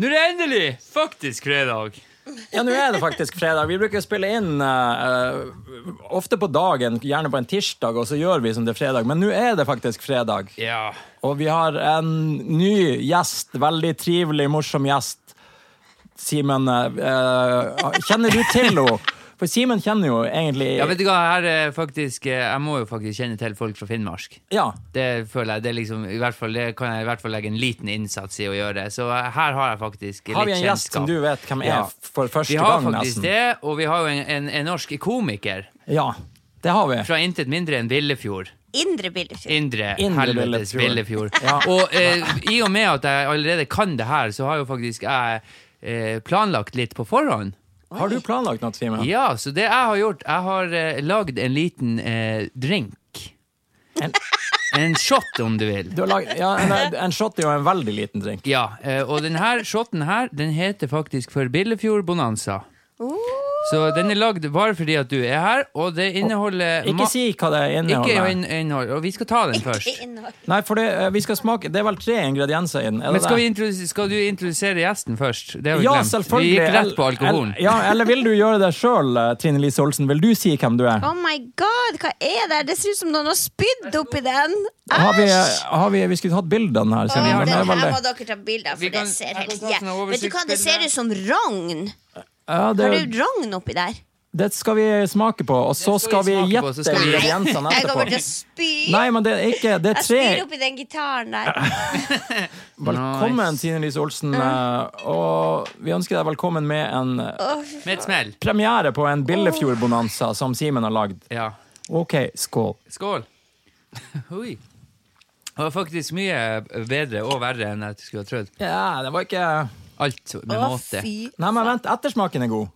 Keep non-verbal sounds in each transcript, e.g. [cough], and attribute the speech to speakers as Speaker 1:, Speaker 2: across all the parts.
Speaker 1: Nå er det endelig faktisk fredag.
Speaker 2: Ja, nå er det faktisk fredag. Vi bruker å spille inn eh, eh, ofte på dagen, gjerne på en tirsdag, og så gjør vi som det er fredag. Men nå er det faktisk fredag.
Speaker 1: Ja.
Speaker 2: Og vi har en ny gjest. Veldig trivelig, morsom gjest. Simen eh, eh, Kjenner du til henne? For Simen kjenner jo egentlig
Speaker 1: ja, vet du hva, her er faktisk eh, Jeg må jo faktisk kjenne til folk fra Finnmark.
Speaker 2: Ja.
Speaker 1: Det føler jeg, det er liksom i hvert fall, Det kan jeg i hvert fall legge en liten innsats i å gjøre. Så eh, her har jeg faktisk litt
Speaker 2: Har vi en gjest
Speaker 1: kjennskap.
Speaker 2: som du vet hvem er
Speaker 1: Ja.
Speaker 2: for første
Speaker 1: vi har
Speaker 2: gang,
Speaker 1: faktisk
Speaker 2: nesten?
Speaker 1: det, og vi har jo en, en, en norsk komiker
Speaker 2: Ja, det har vi.
Speaker 1: fra intet mindre enn Villefjord.
Speaker 3: Indre Billefjord.
Speaker 1: Indre,
Speaker 2: Indre
Speaker 1: helvetes
Speaker 2: Villefjord.
Speaker 1: Villefjord.
Speaker 2: Ja.
Speaker 1: Og eh, i og med at jeg allerede kan det her, så har jo faktisk jeg eh, planlagt litt på forhånd.
Speaker 2: Har du planlagt noe, Simen?
Speaker 1: Ja, så det jeg har gjort Jeg har eh, lagd en liten eh, drink.
Speaker 2: En-
Speaker 1: En shot, om du vil.
Speaker 2: Du har lag- Ja, en, en shot er jo en veldig liten drink.
Speaker 1: Ja, eh, og denne shoten her Den heter faktisk for Billefjord Bonanza. Så den er lagd bare fordi at du er her, og det inneholder ma-
Speaker 2: Ikke si hva det
Speaker 1: Ikke
Speaker 2: inneholder.
Speaker 1: inn- innhold, og vi skal ta den først.
Speaker 3: innhold.
Speaker 2: Nei, for det, eh, vi skal smake Det er vel tre ingredienser i den? er det
Speaker 1: Men skal,
Speaker 2: det?
Speaker 1: vi introdus- skal du introdusere gjesten først? Det har vi
Speaker 2: ja,
Speaker 1: glemt.
Speaker 2: selvfølgelig.
Speaker 1: Vi gikk rett på
Speaker 2: Eller-
Speaker 1: alkoholen.
Speaker 2: eller- Ja, eller vil du gjøre det sjøl, Trine Lise Olsen? Vil du si hvem du er?
Speaker 3: Oh my god, hva er det her? Det ser ut som noen har spydd oppi den.
Speaker 2: Har vi, eh,
Speaker 3: Æsj!
Speaker 2: har vi, vi skulle tatt bildene her. Simen, men
Speaker 3: Åh, det
Speaker 2: det er
Speaker 3: her
Speaker 2: vel
Speaker 3: må
Speaker 2: det.
Speaker 3: dere ta bilde av,
Speaker 1: Vi
Speaker 3: for
Speaker 1: kan-
Speaker 3: det ser
Speaker 1: jeg kan
Speaker 3: helt
Speaker 1: ta sånn
Speaker 3: jævlig Vet du hva, det ser
Speaker 1: oversiktsbilde.
Speaker 3: ut som rogn.
Speaker 2: Ja,
Speaker 3: Har
Speaker 2: det,
Speaker 3: du rogn oppi der?
Speaker 2: det skal vi smake på, og så
Speaker 1: Det skal
Speaker 2: skal
Speaker 1: vi
Speaker 2: vi
Speaker 1: smake på,
Speaker 2: gjette
Speaker 1: så skal vi-
Speaker 2: ingrediensene
Speaker 3: Jeg kommer til
Speaker 2: sånn etterpå.
Speaker 3: å spy.
Speaker 2: Nei, men det er ikke Det er
Speaker 3: Jeg spyr
Speaker 2: tre
Speaker 3: oppi den gitaren der.
Speaker 2: Velkommen, Trine Lise
Speaker 3: Mm.
Speaker 2: Olsen. eh, Og vi ønsker deg velkommen med en eh,
Speaker 3: Åh, fy
Speaker 1: Med et smell.
Speaker 2: premiere på en Billefjord-bonanza som Simen har lagd.
Speaker 1: Ja.
Speaker 2: OK, skål.
Speaker 1: Skål. Oi. Det var faktisk mye bedre og verre enn jeg skulle ha trodd.
Speaker 2: Ja, det var ikke
Speaker 1: Alt med
Speaker 3: Å,
Speaker 1: måte.
Speaker 3: fy.
Speaker 2: Nei, men vent, ettersmaken er god.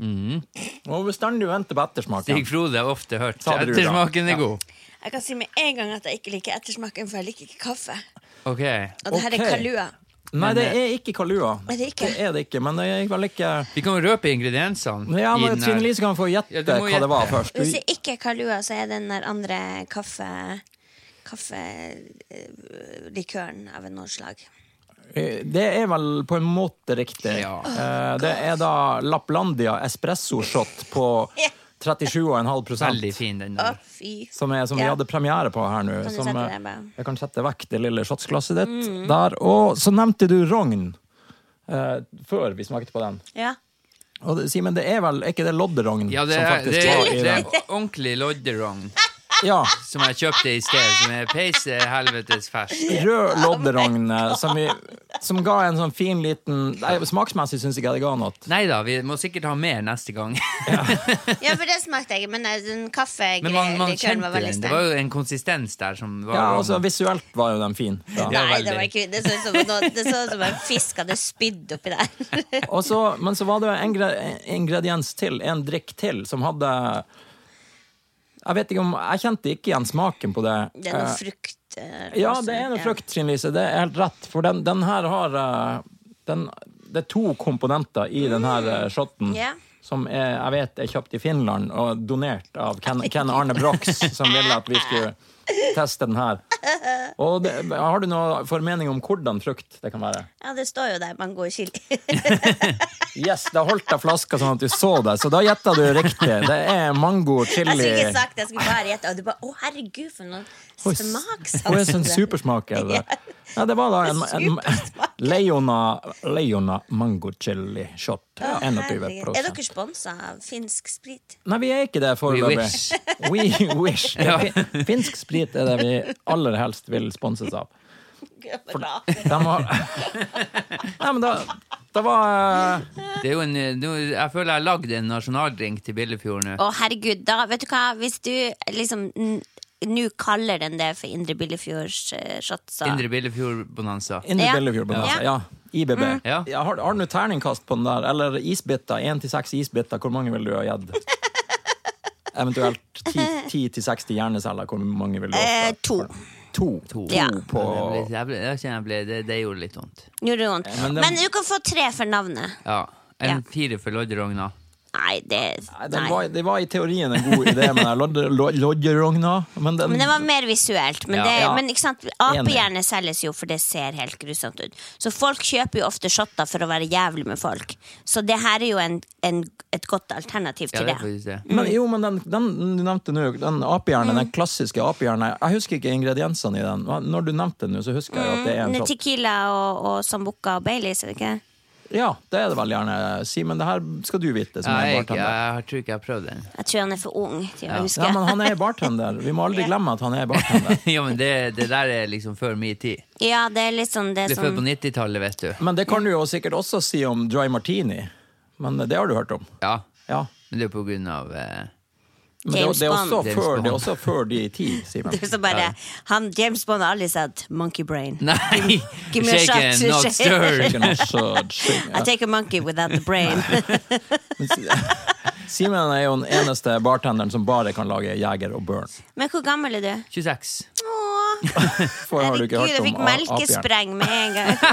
Speaker 2: Og bestandig venter på
Speaker 1: Mhm.
Speaker 2: ettersmaken.
Speaker 1: Stig Frode har ofte hørt.
Speaker 2: Sa det du da.
Speaker 1: Ettersmaken er god.
Speaker 3: Jeg kan si med en gang at jeg ikke liker ettersmaken, for jeg liker ikke kaffe.
Speaker 1: Ok.
Speaker 3: Og det her
Speaker 2: Ok.
Speaker 3: er kalua.
Speaker 2: Nei, det
Speaker 1: Men, eh,
Speaker 2: er ikke kalua.
Speaker 3: Er det ikke?
Speaker 2: er det ikke, men det er vel ikke
Speaker 1: Vi kan jo røpe ingrediensene.
Speaker 2: Ja,
Speaker 1: i
Speaker 2: men
Speaker 1: den her.
Speaker 2: Trine Lise kan få gjette
Speaker 1: Ja, du
Speaker 2: hva
Speaker 1: må
Speaker 2: det var
Speaker 1: gjette.
Speaker 2: først.
Speaker 3: Hvis det
Speaker 2: Du,
Speaker 3: ikke er kalua, så er det den der andre kaffe... Kaffelikøren av noe slag.
Speaker 2: eh, det er vel på en måte riktig.
Speaker 1: Ja.
Speaker 2: Eh, Det er da Lapplandia espresso shot på 37,5
Speaker 1: Veldig fin, den
Speaker 3: Å,
Speaker 1: der.
Speaker 3: fy.
Speaker 2: som, er, som vi
Speaker 3: Ja.
Speaker 2: hadde premiere på her nå.
Speaker 3: Kan du
Speaker 2: som,
Speaker 3: sette
Speaker 2: eh,
Speaker 3: det bare? Mm.
Speaker 2: Jeg kan sette vekk det lille shotsglasset ditt der. Og så nevnte du rogn eh, før vi smakte på den.
Speaker 3: Ja.
Speaker 2: Og det- Simen, det er vel er ikke det lodderogn
Speaker 1: Ja, det
Speaker 2: som
Speaker 1: er,
Speaker 2: faktisk
Speaker 1: det
Speaker 2: var
Speaker 1: er,
Speaker 2: i
Speaker 1: det
Speaker 2: den?
Speaker 1: er ordentlig lodderogn
Speaker 2: Ja,
Speaker 1: som jeg kjøpte i sted, som er peise helvetes fersk.
Speaker 2: rød lodderogn eh, som, vi, som ga en sånn fin liten Nei, Smaksmessig syns ikke jeg det ga noe.
Speaker 1: Nei da, vi må sikkert ha mer neste gang.
Speaker 3: ja, for det smakte jeg, men eh, den
Speaker 1: Men man, man
Speaker 3: kaffelikøren
Speaker 1: kjente
Speaker 3: var veldig
Speaker 1: den. Det
Speaker 3: sterk.
Speaker 1: var jo en konsistens der som var
Speaker 2: Ja, altså Visuelt var jo den fin. da.
Speaker 1: Ja,
Speaker 3: Nei, det
Speaker 1: veldig.
Speaker 3: var ikke Det så ut som, noe- det så ut som en fisk hadde spydd oppi der. [laughs]
Speaker 2: Og så- men så var det en gre- en ingrediens til, en drikk til, som hadde Jeg vet ikke om, jeg kjente ikke igjen smaken på det.
Speaker 3: Det er noe
Speaker 2: Eh,
Speaker 3: frukt. eh,
Speaker 2: Ja,
Speaker 3: også.
Speaker 2: det er noe frukt, Trine Lise. Det er helt rett. For den, den her har eh, den, Det er to komponenter i den her eh, shotten.
Speaker 3: Mm, Ja.
Speaker 2: Som er, jeg vet er kjøpt i Finland og donert av Ken, Ken Arne Brox, som ville at vi skulle teste den her. Og det, Har du noen formening om hvordan frukt det kan være?
Speaker 3: Ja, det står jo der. Mango og chili.
Speaker 2: Yes, Da holdt jeg flaska sånn at du så det, så da gjetta du riktig. Det er mango,
Speaker 3: [laughs] Jeg
Speaker 2: chili
Speaker 3: skulle ikke sagt det, jeg skulle bare gjette. Og du bare Å, herregud, for noen
Speaker 2: Oi,
Speaker 3: smakssans.
Speaker 2: Hun er sånn supersmak. Er
Speaker 3: [laughs]
Speaker 2: det. Ja, det var da en, en Leona, Leona mango chili shot.
Speaker 3: Å,
Speaker 2: 21
Speaker 3: herregud. Er dere sponsa av finsk sprit? [laughs]
Speaker 2: Nei, vi er ikke det
Speaker 1: We
Speaker 2: foreløpig.
Speaker 1: wish.
Speaker 2: [laughs] We wish. Fin- Finsk sprit er det vi aller helst vil sponses av.
Speaker 3: Hva
Speaker 2: De har... [laughs] Nei, men da, da var eh,
Speaker 1: Det er jo en, nå- jeg føler jeg har lagd en nasjonaldrink til Billefjord nå.
Speaker 3: Å, herregud, da, vet du hva, hvis du liksom n- nå kaller den det for Indre Billefjords eh, shot, så
Speaker 1: Indre Billefjord-bonanza.
Speaker 2: Indre
Speaker 3: Ja. Mm.
Speaker 2: Billefjord Bonanza. altså. Ja. IBB.
Speaker 1: Ja.
Speaker 2: Ja, har har du noe terningkast på den der? Eller isbiter? Én til seks isbiter, hvor mange vil du ha
Speaker 3: [laughs]
Speaker 2: gitt? Eventuelt ti- ti til 60 hjerneceller, hvor mange vil du ha?
Speaker 3: eh, To.
Speaker 2: To.
Speaker 1: To.
Speaker 3: Ja.
Speaker 2: På
Speaker 1: Jeg ble, jeg ble, jeg kjenner jeg ble, det, det gjorde litt vondt.
Speaker 3: Gjorde det vondt.
Speaker 2: men det-
Speaker 3: Men du kan få tre for navnet.
Speaker 1: Ja. En
Speaker 3: Ja.
Speaker 1: fire for lodderogna.
Speaker 3: Nei, det
Speaker 2: Nei, den
Speaker 3: Nei.
Speaker 2: var, det var i teorien en god idé med den lodde- lo- lodderogna, men den
Speaker 3: Men det var mer visuelt. Men,
Speaker 1: Ja.
Speaker 3: det,
Speaker 2: Ja.
Speaker 3: men ikke sant, apehjerne selges jo, for det ser helt grusomt ut. Så folk kjøper jo ofte shotter for å være jævlig med folk. Så det her er jo en, en, et godt alternativ
Speaker 1: Ja, det
Speaker 3: til
Speaker 1: er
Speaker 3: det.
Speaker 1: faktisk det.
Speaker 2: Men, jo, men den, den du nevnte nå, den apehjernen,
Speaker 3: Mm.
Speaker 2: den klassiske apehjernen Jeg husker ikke ingrediensene i den. Når du nevnte den, nå, så husker jeg at det er en
Speaker 3: Mm,
Speaker 2: sånn- shot.
Speaker 3: Tequila og, og Sambuca og Baileys, er det ikke? det?
Speaker 2: Ja, det er det vel gjerne, Simen. Det her skal du vite. Som
Speaker 1: Nei,
Speaker 2: er
Speaker 1: jeg, jeg,
Speaker 2: bartender.
Speaker 1: tror ikke jeg har prøvd den. [laughs]
Speaker 3: Jeg tror han er for ung til å huske.
Speaker 2: Ja, men han er bartender. Vi må aldri glemme at han er bartender.
Speaker 1: ja, men det, det der er liksom før min tid.
Speaker 3: Ja, det er litt sånn det
Speaker 1: Ble født
Speaker 3: som
Speaker 1: på 90-tallet, vet du.
Speaker 2: Men det kan du jo sikkert også si om dry martini. Men det har du hørt om.
Speaker 1: Ja,
Speaker 2: Ja.
Speaker 1: men det er på grunn av eh, [laughs]
Speaker 2: Men det,
Speaker 3: James
Speaker 2: det, er også
Speaker 3: Bond.
Speaker 1: James
Speaker 2: før, det
Speaker 1: Bond.
Speaker 2: er også før de i tid, Simen.
Speaker 3: det er [laughs] så bare, han, James Bond har aldri sett Monkey Brain.
Speaker 1: Nei!
Speaker 3: Give me a shot.
Speaker 1: Shaken, not stirred.
Speaker 2: Chicken and sausage.
Speaker 3: I take a monkey without the brain.
Speaker 2: Simen er jo den eneste bartenderen som bare kan lage Jeger og Burn.
Speaker 3: [laughs] Men hvor gammel er du?
Speaker 1: 26.
Speaker 3: Åh,
Speaker 2: For har du
Speaker 3: herregud,
Speaker 2: ikke hørt
Speaker 3: jeg
Speaker 2: om
Speaker 3: fikk
Speaker 2: a- apehjernen.
Speaker 3: melkespreng med en gang.
Speaker 2: [laughs]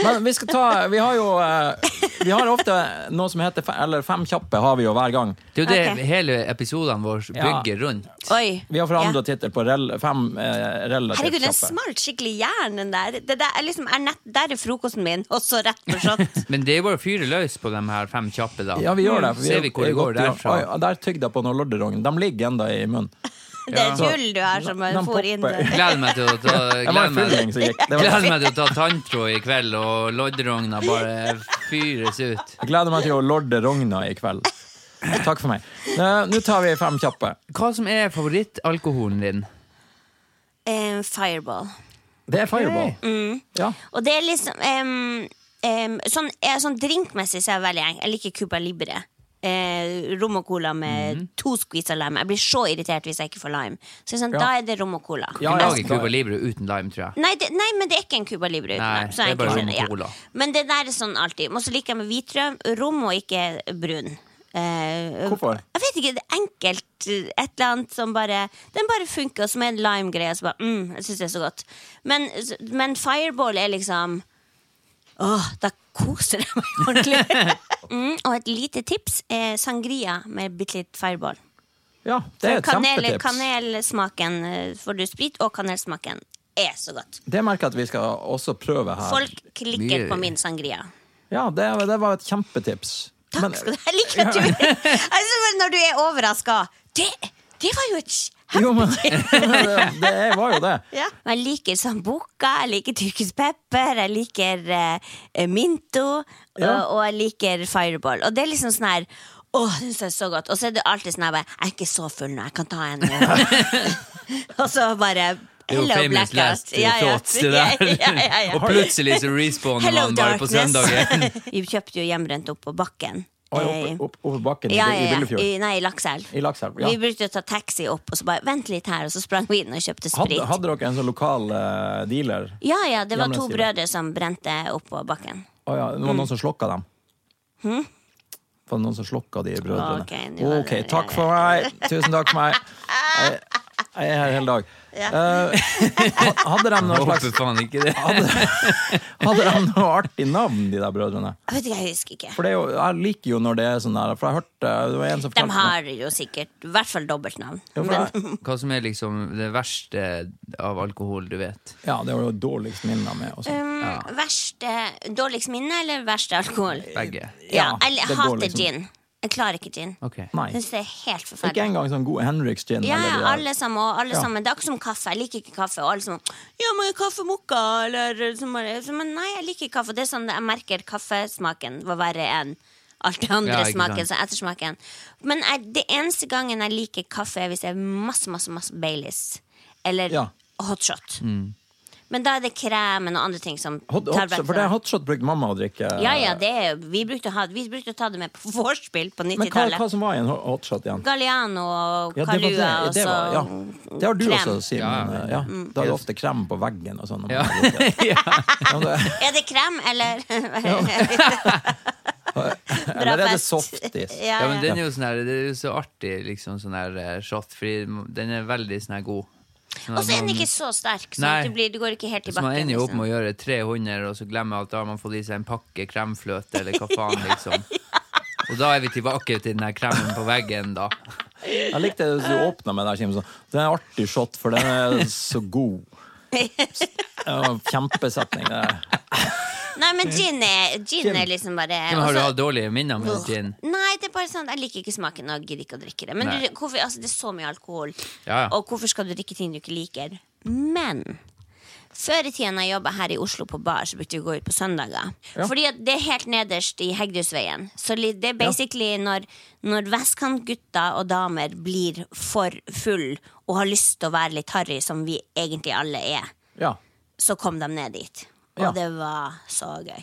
Speaker 2: Men vi skal ta Vi har jo eh, Vi har ofte noe som heter fe- Eller fem kjappe har vi jo hver gang.
Speaker 1: Det er jo det
Speaker 3: Ok.
Speaker 1: hele episodene våre
Speaker 2: Ja.
Speaker 1: bygger rundt.
Speaker 3: Oi.
Speaker 2: Vi har
Speaker 3: Ja.
Speaker 2: forandra tittel på rel, fem eh, relativt
Speaker 3: Herregud, den
Speaker 2: kjappe.
Speaker 3: smalt skikkelig i hjernen der. Det der, er liksom, er nett, der er frokosten min, og så rett på
Speaker 2: [laughs]
Speaker 3: shot.
Speaker 1: Men det er jo bare å fyre løs på de her fem kjappe, da.
Speaker 2: Ja, vi gjør det. for
Speaker 1: Ser vi hvor
Speaker 2: er
Speaker 1: det går
Speaker 2: godt i gang.
Speaker 1: derfra.
Speaker 2: Oi, der tygde jeg på noen lodderogn. De ligger enda i munnen.
Speaker 3: Det er
Speaker 1: Ja.
Speaker 3: tull du har
Speaker 2: Den-
Speaker 3: som bare
Speaker 2: den
Speaker 3: for inn
Speaker 2: popper.
Speaker 3: der.
Speaker 1: Gleder meg til å ta
Speaker 2: Jeg var
Speaker 1: gleder
Speaker 2: en
Speaker 1: meg,
Speaker 2: fullgjeng som gikk. Det var,
Speaker 1: gleder meg til å ta tanntråd i kveld, og lodderogna bare fyres ut.
Speaker 2: jeg gleder meg til å lodde rogna i kveld. Takk for meg. Eh, Nå tar vi fem kjappe.
Speaker 1: Hva som er favorittalkoholen din?
Speaker 3: Eh, fireball.
Speaker 2: Det er fireball.
Speaker 3: Mm.
Speaker 2: Ja.
Speaker 3: Og det er liksom em, em, sånn, eh, sånn drinkmessig så er jeg veldig eng. Jeg liker Cuba Libre. Eh, rom og cola med
Speaker 2: Mhm.
Speaker 3: to skviser lime. Jeg blir så irritert hvis jeg ikke får lime. Så sånn,
Speaker 2: Ja.
Speaker 3: Da er det rom og cola.
Speaker 2: Ja,
Speaker 1: Du
Speaker 2: ja.
Speaker 1: lager Cuba Libre uten lime, tror jeg.
Speaker 3: Nei, det, nei, men det er ikke en Cuba Libre. uten
Speaker 1: Nei,
Speaker 3: lime, så
Speaker 1: det er
Speaker 3: jeg
Speaker 1: bare
Speaker 3: ikke
Speaker 1: rom og
Speaker 3: skjønner,
Speaker 1: cola.
Speaker 3: Men det der er sånn alltid. Og så liker jeg med hvitrøm, rom og ikke brun. Eh,
Speaker 2: Hvorfor?
Speaker 3: Jeg vet ikke, det er enkelt eh, et eller annet som bare Den bare funker, og som er en lime-greie. Så bare, mm, jeg synes det er så godt Men, men fireball er liksom Åh, da koser jeg meg [laughs] ordentlig. mm, og et lite tips er sangria med bitte litt fireball.
Speaker 2: ja, det er et
Speaker 3: Kanel,
Speaker 2: kjempetips.
Speaker 3: kanelsmaken eh, får du sprit, og kanelsmaken er så godt.
Speaker 2: Det merker jeg at vi skal også prøve her.
Speaker 3: Folk klikker
Speaker 1: Mye-
Speaker 3: på min sangria.
Speaker 2: Ja, det, det var et kjempetips.
Speaker 3: Takk
Speaker 2: Men-
Speaker 3: skal du ha. Jeg liker at du [laughs] altså, men Når du er overraska. Det, det var jo et sj-
Speaker 2: Jo,
Speaker 3: [laughs]
Speaker 2: men [laughs] det, det var jo det.
Speaker 3: Og Jeg liker sambuca, jeg liker tyrkisk pepper, jeg liker eh, minto,
Speaker 2: Ja.
Speaker 3: og, og jeg liker fireball. Og det er liksom sånn her Åh, det synes jeg er så godt. Og så er det alltid sånn her bare, Jeg er ikke så full nå, jeg kan ta
Speaker 1: [laughs]
Speaker 3: en. og- og så bare
Speaker 1: Det er jo
Speaker 3: Hello,
Speaker 1: famous
Speaker 3: blackout.
Speaker 1: last thoughts, det der.
Speaker 3: [laughs] ja, ja,
Speaker 1: [laughs]
Speaker 3: ja.
Speaker 1: Og plutselig så respawner
Speaker 3: Hello,
Speaker 1: man bare på
Speaker 3: darkness. [laughs]
Speaker 1: søndagen.
Speaker 3: Vi kjøpte jo hjemmebrent opp på bakken.
Speaker 2: Oi,
Speaker 3: Eh,
Speaker 2: opp, opp, opp bakken
Speaker 3: ja,
Speaker 2: i
Speaker 3: ja, ja.
Speaker 2: Billefjord.
Speaker 3: I, nei, i Lakselv.
Speaker 2: I Lakselv.
Speaker 3: Vi
Speaker 2: Ja.
Speaker 3: brukte å ta taxi opp, og så bare vent litt her, og så sprang vi inn og kjøpte sprit.
Speaker 2: Hadde, hadde dere en sånn lokal eh, dealer?
Speaker 3: Ja, ja, det var to
Speaker 2: Hjemmebrent
Speaker 3: brødre som brente opp på bakken.
Speaker 2: Å ja,
Speaker 3: Mm.
Speaker 2: det var noen som slokka dem? Var det noen som slokka de brødrene?
Speaker 3: Hm? Ok, nå var det-
Speaker 2: Ok, takk for meg! Tusen takk for meg. Jeg, jeg er her hele dag. Eh, had- hadde de noe slags
Speaker 1: Håper faen ikke det.
Speaker 2: hadde, hadde de noe artig navn, de der brødrene?
Speaker 3: Jeg vet ikke, jeg husker ikke.
Speaker 2: For det er jo, jeg liker jo når det er sånn der, for jeg hørte det var en som
Speaker 3: De
Speaker 2: fortalte meg-
Speaker 3: har jo sikkert i hvert fall dobbeltnavn.
Speaker 2: Jo, for jeg-
Speaker 1: Hva som er liksom det verste av alkohol du vet?
Speaker 2: Ja, det var jo dårligst minner med. Og sånt.
Speaker 3: Um, verste, dårligst minne eller verste alkohol?
Speaker 1: Begge.
Speaker 3: Ja,
Speaker 2: Ja,
Speaker 3: jeg
Speaker 2: det går
Speaker 3: hater
Speaker 2: liksom-
Speaker 3: gin. Jeg klarer ikke gin.
Speaker 1: Ok.
Speaker 2: Nei.
Speaker 3: Jeg synes det er helt
Speaker 2: Ikke
Speaker 3: forferdelig.
Speaker 2: engang sånn god Henriks gin.
Speaker 3: Ja,
Speaker 2: eller de
Speaker 3: ja,
Speaker 2: der-
Speaker 3: alle sammen. Og alle
Speaker 2: Ja.
Speaker 3: sammen. Det er ikke som kaffe. Jeg liker ikke kaffe. Og alle sammen Ja, men kaffemokka, eller så bare- så, Men nei, jeg liker ikke kaffe. Det er sånn Jeg merker kaffesmaken var verre enn alt det andre
Speaker 1: Ja, ikke
Speaker 3: smaken, så ettersmaken. Men jeg, det eneste gangen jeg liker kaffe, er hvis det er masse, masse, masse Baileys. Eller
Speaker 2: Ja. Mm.
Speaker 3: hotshot. Men da er det kremen og andre ting som
Speaker 2: Hot,
Speaker 3: tar
Speaker 2: hotshot,
Speaker 3: vekk
Speaker 2: for
Speaker 3: fra
Speaker 2: det er hotshot brukte mamma å drikke.
Speaker 3: Ja, ja, det er, vi, brukte å ha, vi brukte å ta det med på [laughs] vorspiel på
Speaker 2: Men hva,
Speaker 3: 90-tallet.
Speaker 2: hva som var i en hot- hotshot igjen?
Speaker 3: Galliano og
Speaker 2: Ja, det var det.
Speaker 3: Kalua og
Speaker 2: Det,
Speaker 3: så
Speaker 2: var, ja. det har du
Speaker 3: krem. Mm.
Speaker 2: også, Simen.
Speaker 1: Ja,
Speaker 2: Ja,
Speaker 1: ja.
Speaker 2: Da er det ofte krem på veggen og sånn. når
Speaker 1: [laughs]
Speaker 2: man
Speaker 1: Ja.
Speaker 2: har drukket. Ja, men det-
Speaker 3: Er det krem, eller?
Speaker 2: Eller er det
Speaker 3: fest.
Speaker 2: softis?
Speaker 3: [laughs] ja,
Speaker 1: Ja, men
Speaker 3: ja.
Speaker 1: den er jo sånn her, det er jo så artig, liksom, sånn her eh, shot, fordi den er veldig sånn her god. Sånn
Speaker 3: Og
Speaker 1: at
Speaker 3: så er den
Speaker 1: man-
Speaker 3: ikke så sterk, så
Speaker 1: Nei.
Speaker 3: det, blir, det går ikke helt i
Speaker 1: Så man
Speaker 3: bakken.
Speaker 1: ender jo opp
Speaker 3: liksom.
Speaker 1: med å gjøre
Speaker 3: [laughs]
Speaker 1: 300, og så glemmer jeg at da har man fått i seg en pakke kremfløte, eller hva faen, liksom. Og da er vi tilbake til den der kremen på veggen, da.
Speaker 2: Jeg likte det du åpna med der, Kim. sånn, Det er en artig shot, for den er så
Speaker 3: [laughs]
Speaker 2: god. Det var en Kjempesetning. det der.
Speaker 3: Nei, men gin er, gin er liksom bare
Speaker 1: Men har du
Speaker 3: også-
Speaker 1: hatt dårlige minner med gin?
Speaker 3: Nei, det er bare sånn, jeg liker ikke smaken og gidder ikke å drikke det. Men
Speaker 1: Nei.
Speaker 3: du, hvorfor, altså, det er så mye alkohol,
Speaker 1: Ja, ja.
Speaker 3: og hvorfor skal du drikke ting du ikke liker? Men før i tida da jeg jobba her i Oslo på bar, så brukte vi å gå ut på søndager. Fordi at det er helt nederst i Hegdehusveien. Så li- det er basically når, når vestkantgutter og damer blir for full og har lyst til å være litt harry, som vi egentlig alle er
Speaker 2: Ja.
Speaker 3: så kom de ned dit. Og
Speaker 2: Ja.
Speaker 3: det var så
Speaker 1: [laughs]
Speaker 3: gøy.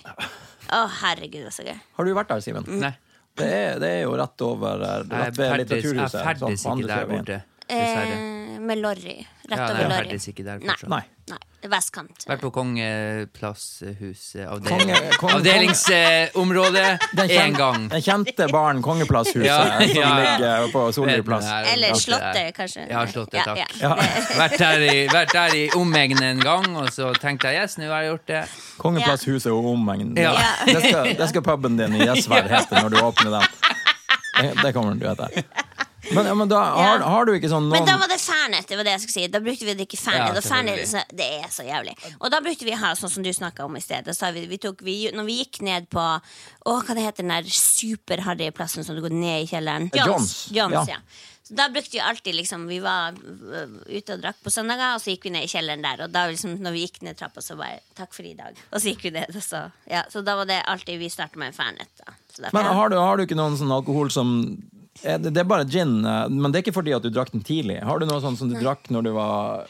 Speaker 3: Å, herregud, det var så gøy.
Speaker 2: Har du vært der, Simen?
Speaker 3: Mm.
Speaker 1: Nei.
Speaker 2: Det er, det er jo rett over eh,
Speaker 1: Jeg
Speaker 2: rett ved
Speaker 1: ferdes, jeg
Speaker 2: Litteraturhuset.
Speaker 1: ferdes
Speaker 2: sånn på
Speaker 1: ikke
Speaker 2: andre
Speaker 1: der
Speaker 2: siden av veien.
Speaker 1: borte, dessverre.
Speaker 3: Eh, med Lorry. Rett
Speaker 1: Ja, nei,
Speaker 3: over
Speaker 1: jeg
Speaker 3: Lorry.
Speaker 1: ferdes ikke der
Speaker 3: Nei.
Speaker 1: fortsatt.
Speaker 2: Nei.
Speaker 3: Nei, vestkant.
Speaker 1: Vært på Kongeplasshuset
Speaker 2: Konge- konge-
Speaker 1: Avdelingsområdet
Speaker 2: [laughs] Den kjen-
Speaker 1: én gang.
Speaker 2: Den kjente baren Kongeplasshuset,
Speaker 1: Ja,
Speaker 2: som
Speaker 1: ja, ja.
Speaker 2: ligger på Solli plass.
Speaker 1: Vet den her,
Speaker 3: Eller
Speaker 1: alt det
Speaker 3: Slottet,
Speaker 1: der.
Speaker 3: kanskje.
Speaker 1: Ja, Slottet,
Speaker 3: Ja,
Speaker 1: takk.
Speaker 3: ja.
Speaker 1: Vært der i, vært der i omegnen en gang, og så tenkte jeg yes, nå har jeg gjort det.
Speaker 2: Kongeplasshuset og omegnen.
Speaker 1: Ja.
Speaker 3: Ja.
Speaker 2: [laughs] Det, skal, det skal puben din i
Speaker 3: [laughs]
Speaker 2: Gjesvær hete når du åpner den. Det, det kommer den til å hete. Men, ja, men da har, har du ikke sånn
Speaker 3: Men
Speaker 2: noen
Speaker 3: da var det Fernet. det var det jeg skulle si Da brukte vi å drikke Fernet.
Speaker 1: Ja,
Speaker 3: og Fernet
Speaker 1: selvfølgelig.
Speaker 3: så, det er så jævlig. Og da brukte vi å ha sånn som du snakka om i sted. Da sa vi, vi tok, vi, når vi gikk ned på Å, hva det heter den der superharry plassen som du går ned i kjelleren?
Speaker 2: Eh, Johns,
Speaker 3: Johns,
Speaker 2: ja.
Speaker 3: ja. Så da brukte vi alltid liksom Vi var øh, ute og drakk på søndager, og så gikk vi ned i kjelleren der. Og da liksom, når vi gikk ned trappa, så bare Takk for i dag. Og så gikk vi ned, og så Ja, så da var det alltid Vi starta med en Fernet, da. Så da-
Speaker 2: Men har du, har du ikke noen sånn alkohol som er det, det er bare gin, eh, men det er ikke fordi at du drakk den tidlig. Har du noe sånn som du drakk når du var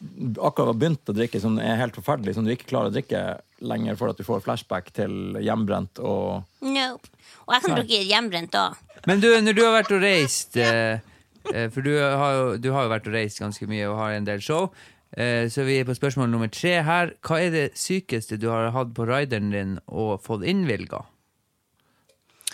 Speaker 2: akkurat var begynt å drikke, som er helt forferdelig, som du ikke klarer å drikke lenger for at du får flashback til hjemmebrent og
Speaker 3: Nope. Og jeg kan bruke hjemmebrent òg.
Speaker 1: Men du, når du har vært og reist eh, eh, For du har, jo, du har jo vært og reist ganske mye og har en del show. Eh, så vi er på spørsmål nummer tre her. Hva er det sykeste du har hatt på rideren din og fått innvilga?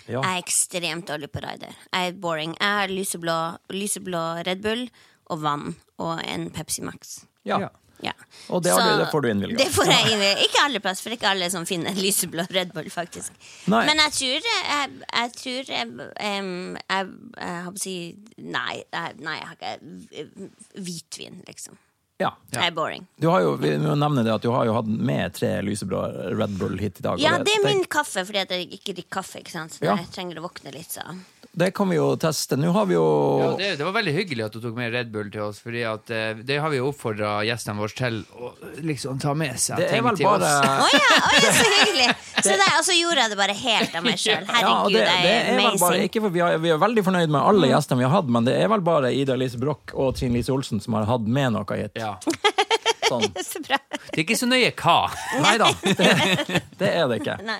Speaker 2: ja.
Speaker 3: Jeg er ekstremt dårlig på rider. Jeg er boring. Jeg har lyseblå, lyseblå Red Bull og vann og en Pepsi Max.
Speaker 2: ja.
Speaker 1: Ja.
Speaker 3: Ja.
Speaker 2: Og det har du- det får du innvilget.
Speaker 3: Det får jeg innvilget. Ikke alle plass, for det er ikke alle som finner en lyseblå Red Bull, faktisk.
Speaker 2: Nei.
Speaker 3: Men jeg tror eh, Jeg, jeg tror jeg, em, jeg, jeg holdt på å si Nei, jeg, nei, jeg har ikke eh, Hvitvin, liksom.
Speaker 2: ja.
Speaker 3: Jeg er boring.
Speaker 2: Du har jo, vi må nevne det at du har jo hatt med tre lyseblå Red Bull hit i dag. og
Speaker 3: Ja, det er min
Speaker 2: det,
Speaker 3: kaffe, fordi at jeg ikke drikker kaffe. Ikke sant? Så
Speaker 2: Ja.
Speaker 3: jeg trenger å våkne litt, så.
Speaker 2: det kan vi jo teste. Nå har vi jo
Speaker 1: Ja, det, det var veldig hyggelig at du tok med Red Bull til oss, Fordi at eh, det har vi jo oppfordra gjestene våre til å liksom ta med seg
Speaker 2: Det er
Speaker 1: ting
Speaker 2: vel
Speaker 1: til
Speaker 2: bare
Speaker 1: oss.
Speaker 3: Å ja, å ja,
Speaker 2: [laughs]
Speaker 3: så hyggelig! Så der, og så gjorde jeg det bare helt av meg
Speaker 2: Ja,
Speaker 3: sjøl.
Speaker 2: og
Speaker 3: Herregud,
Speaker 2: det, det
Speaker 3: jeg er
Speaker 2: er vel bare,
Speaker 3: amazing.
Speaker 2: ikke for vi, har, vi er veldig fornøyd med alle gjestene vi har hatt, men det er vel bare Ida Lise Broch og Trine Lise Olsen som har hatt med noe hit.
Speaker 1: Ja.
Speaker 2: Sånn.
Speaker 3: [laughs] Så bra.
Speaker 1: Det er ikke så nøye hva.
Speaker 2: [laughs] Nei da, det, det er det ikke.
Speaker 3: Nei.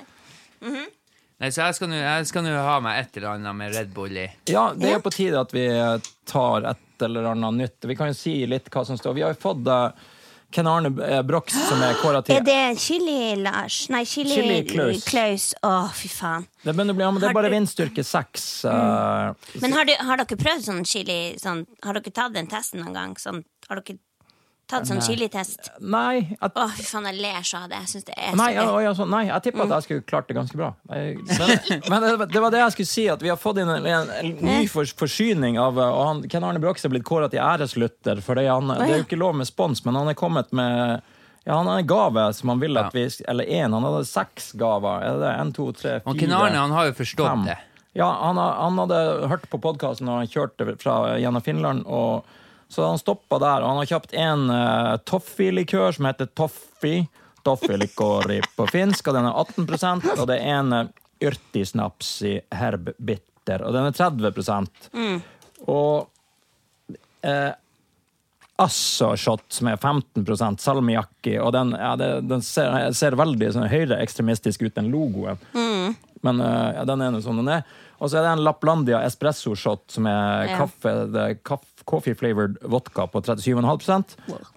Speaker 1: Nei, Så jeg skal nå- jeg skal nå ha meg et eller annet med Red Bull i.
Speaker 2: Ja, det er på tide at vi tar et eller annet nytt. Vi kan jo si litt hva som står. Vi har jo fått eh, Ken Arne eh, Broch, som er kåra til
Speaker 3: [gasps] Er det Chili-Lars? Nei,
Speaker 2: Chili Klaus.
Speaker 3: Chili-Klaus. Å, fy faen.
Speaker 2: Det begynner å bli, ja, men det er bare vindstyrke seks. eh,
Speaker 3: Men har, du, har dere prøvd sånn chili sånn, Har dere tatt den testen noen gang? Sånn, har dere tatt sånn chili-test?
Speaker 2: Nei, jeg
Speaker 3: Å, fy faen, jeg ler så av det. Jeg syns det er så
Speaker 2: Nei, ja,
Speaker 3: gøy.
Speaker 2: ja, sånn. nei, jeg tippa at jeg skulle klart det ganske bra. Jeg-
Speaker 1: [laughs]
Speaker 2: Men, men det, det var det jeg skulle si, at vi har fått inn en, en, en ny for, forsyning av eh, Og han, Ken Arne Brox er blitt kåra til æreslytter, for det, han, det er jo ikke lov med spons, men han er kommet med ja, han har en gave som han vil at vi Eller én. Han hadde seks gaver. Er det det? En, to, tre, fire
Speaker 1: Og Ken Arne han har jo forstått
Speaker 2: fem.
Speaker 1: det.
Speaker 2: Ja, han, har- han hadde hørt på podkasten, og han kjørte fra, gjennom Finland. Og, så han stoppa der, og han har kjøpt en uh, Toffi-likør som heter Toffi. Toffi-likør i- på finsk, og den er 18 og det er en uh, Yrtisnaps i herb bitter, og den er 30 Og eh, Assashot, som er 15 salmiakki, og den, ja, det, den ser, ser veldig sånn, høyreekstremistisk ut, den logoen. Men eh, ja, den er nå sånn den er. Og så er det en Laplandia espresso shot, som er
Speaker 3: Ja.
Speaker 2: kaffe, det er kaff- coffee-flavored vodka på 37,5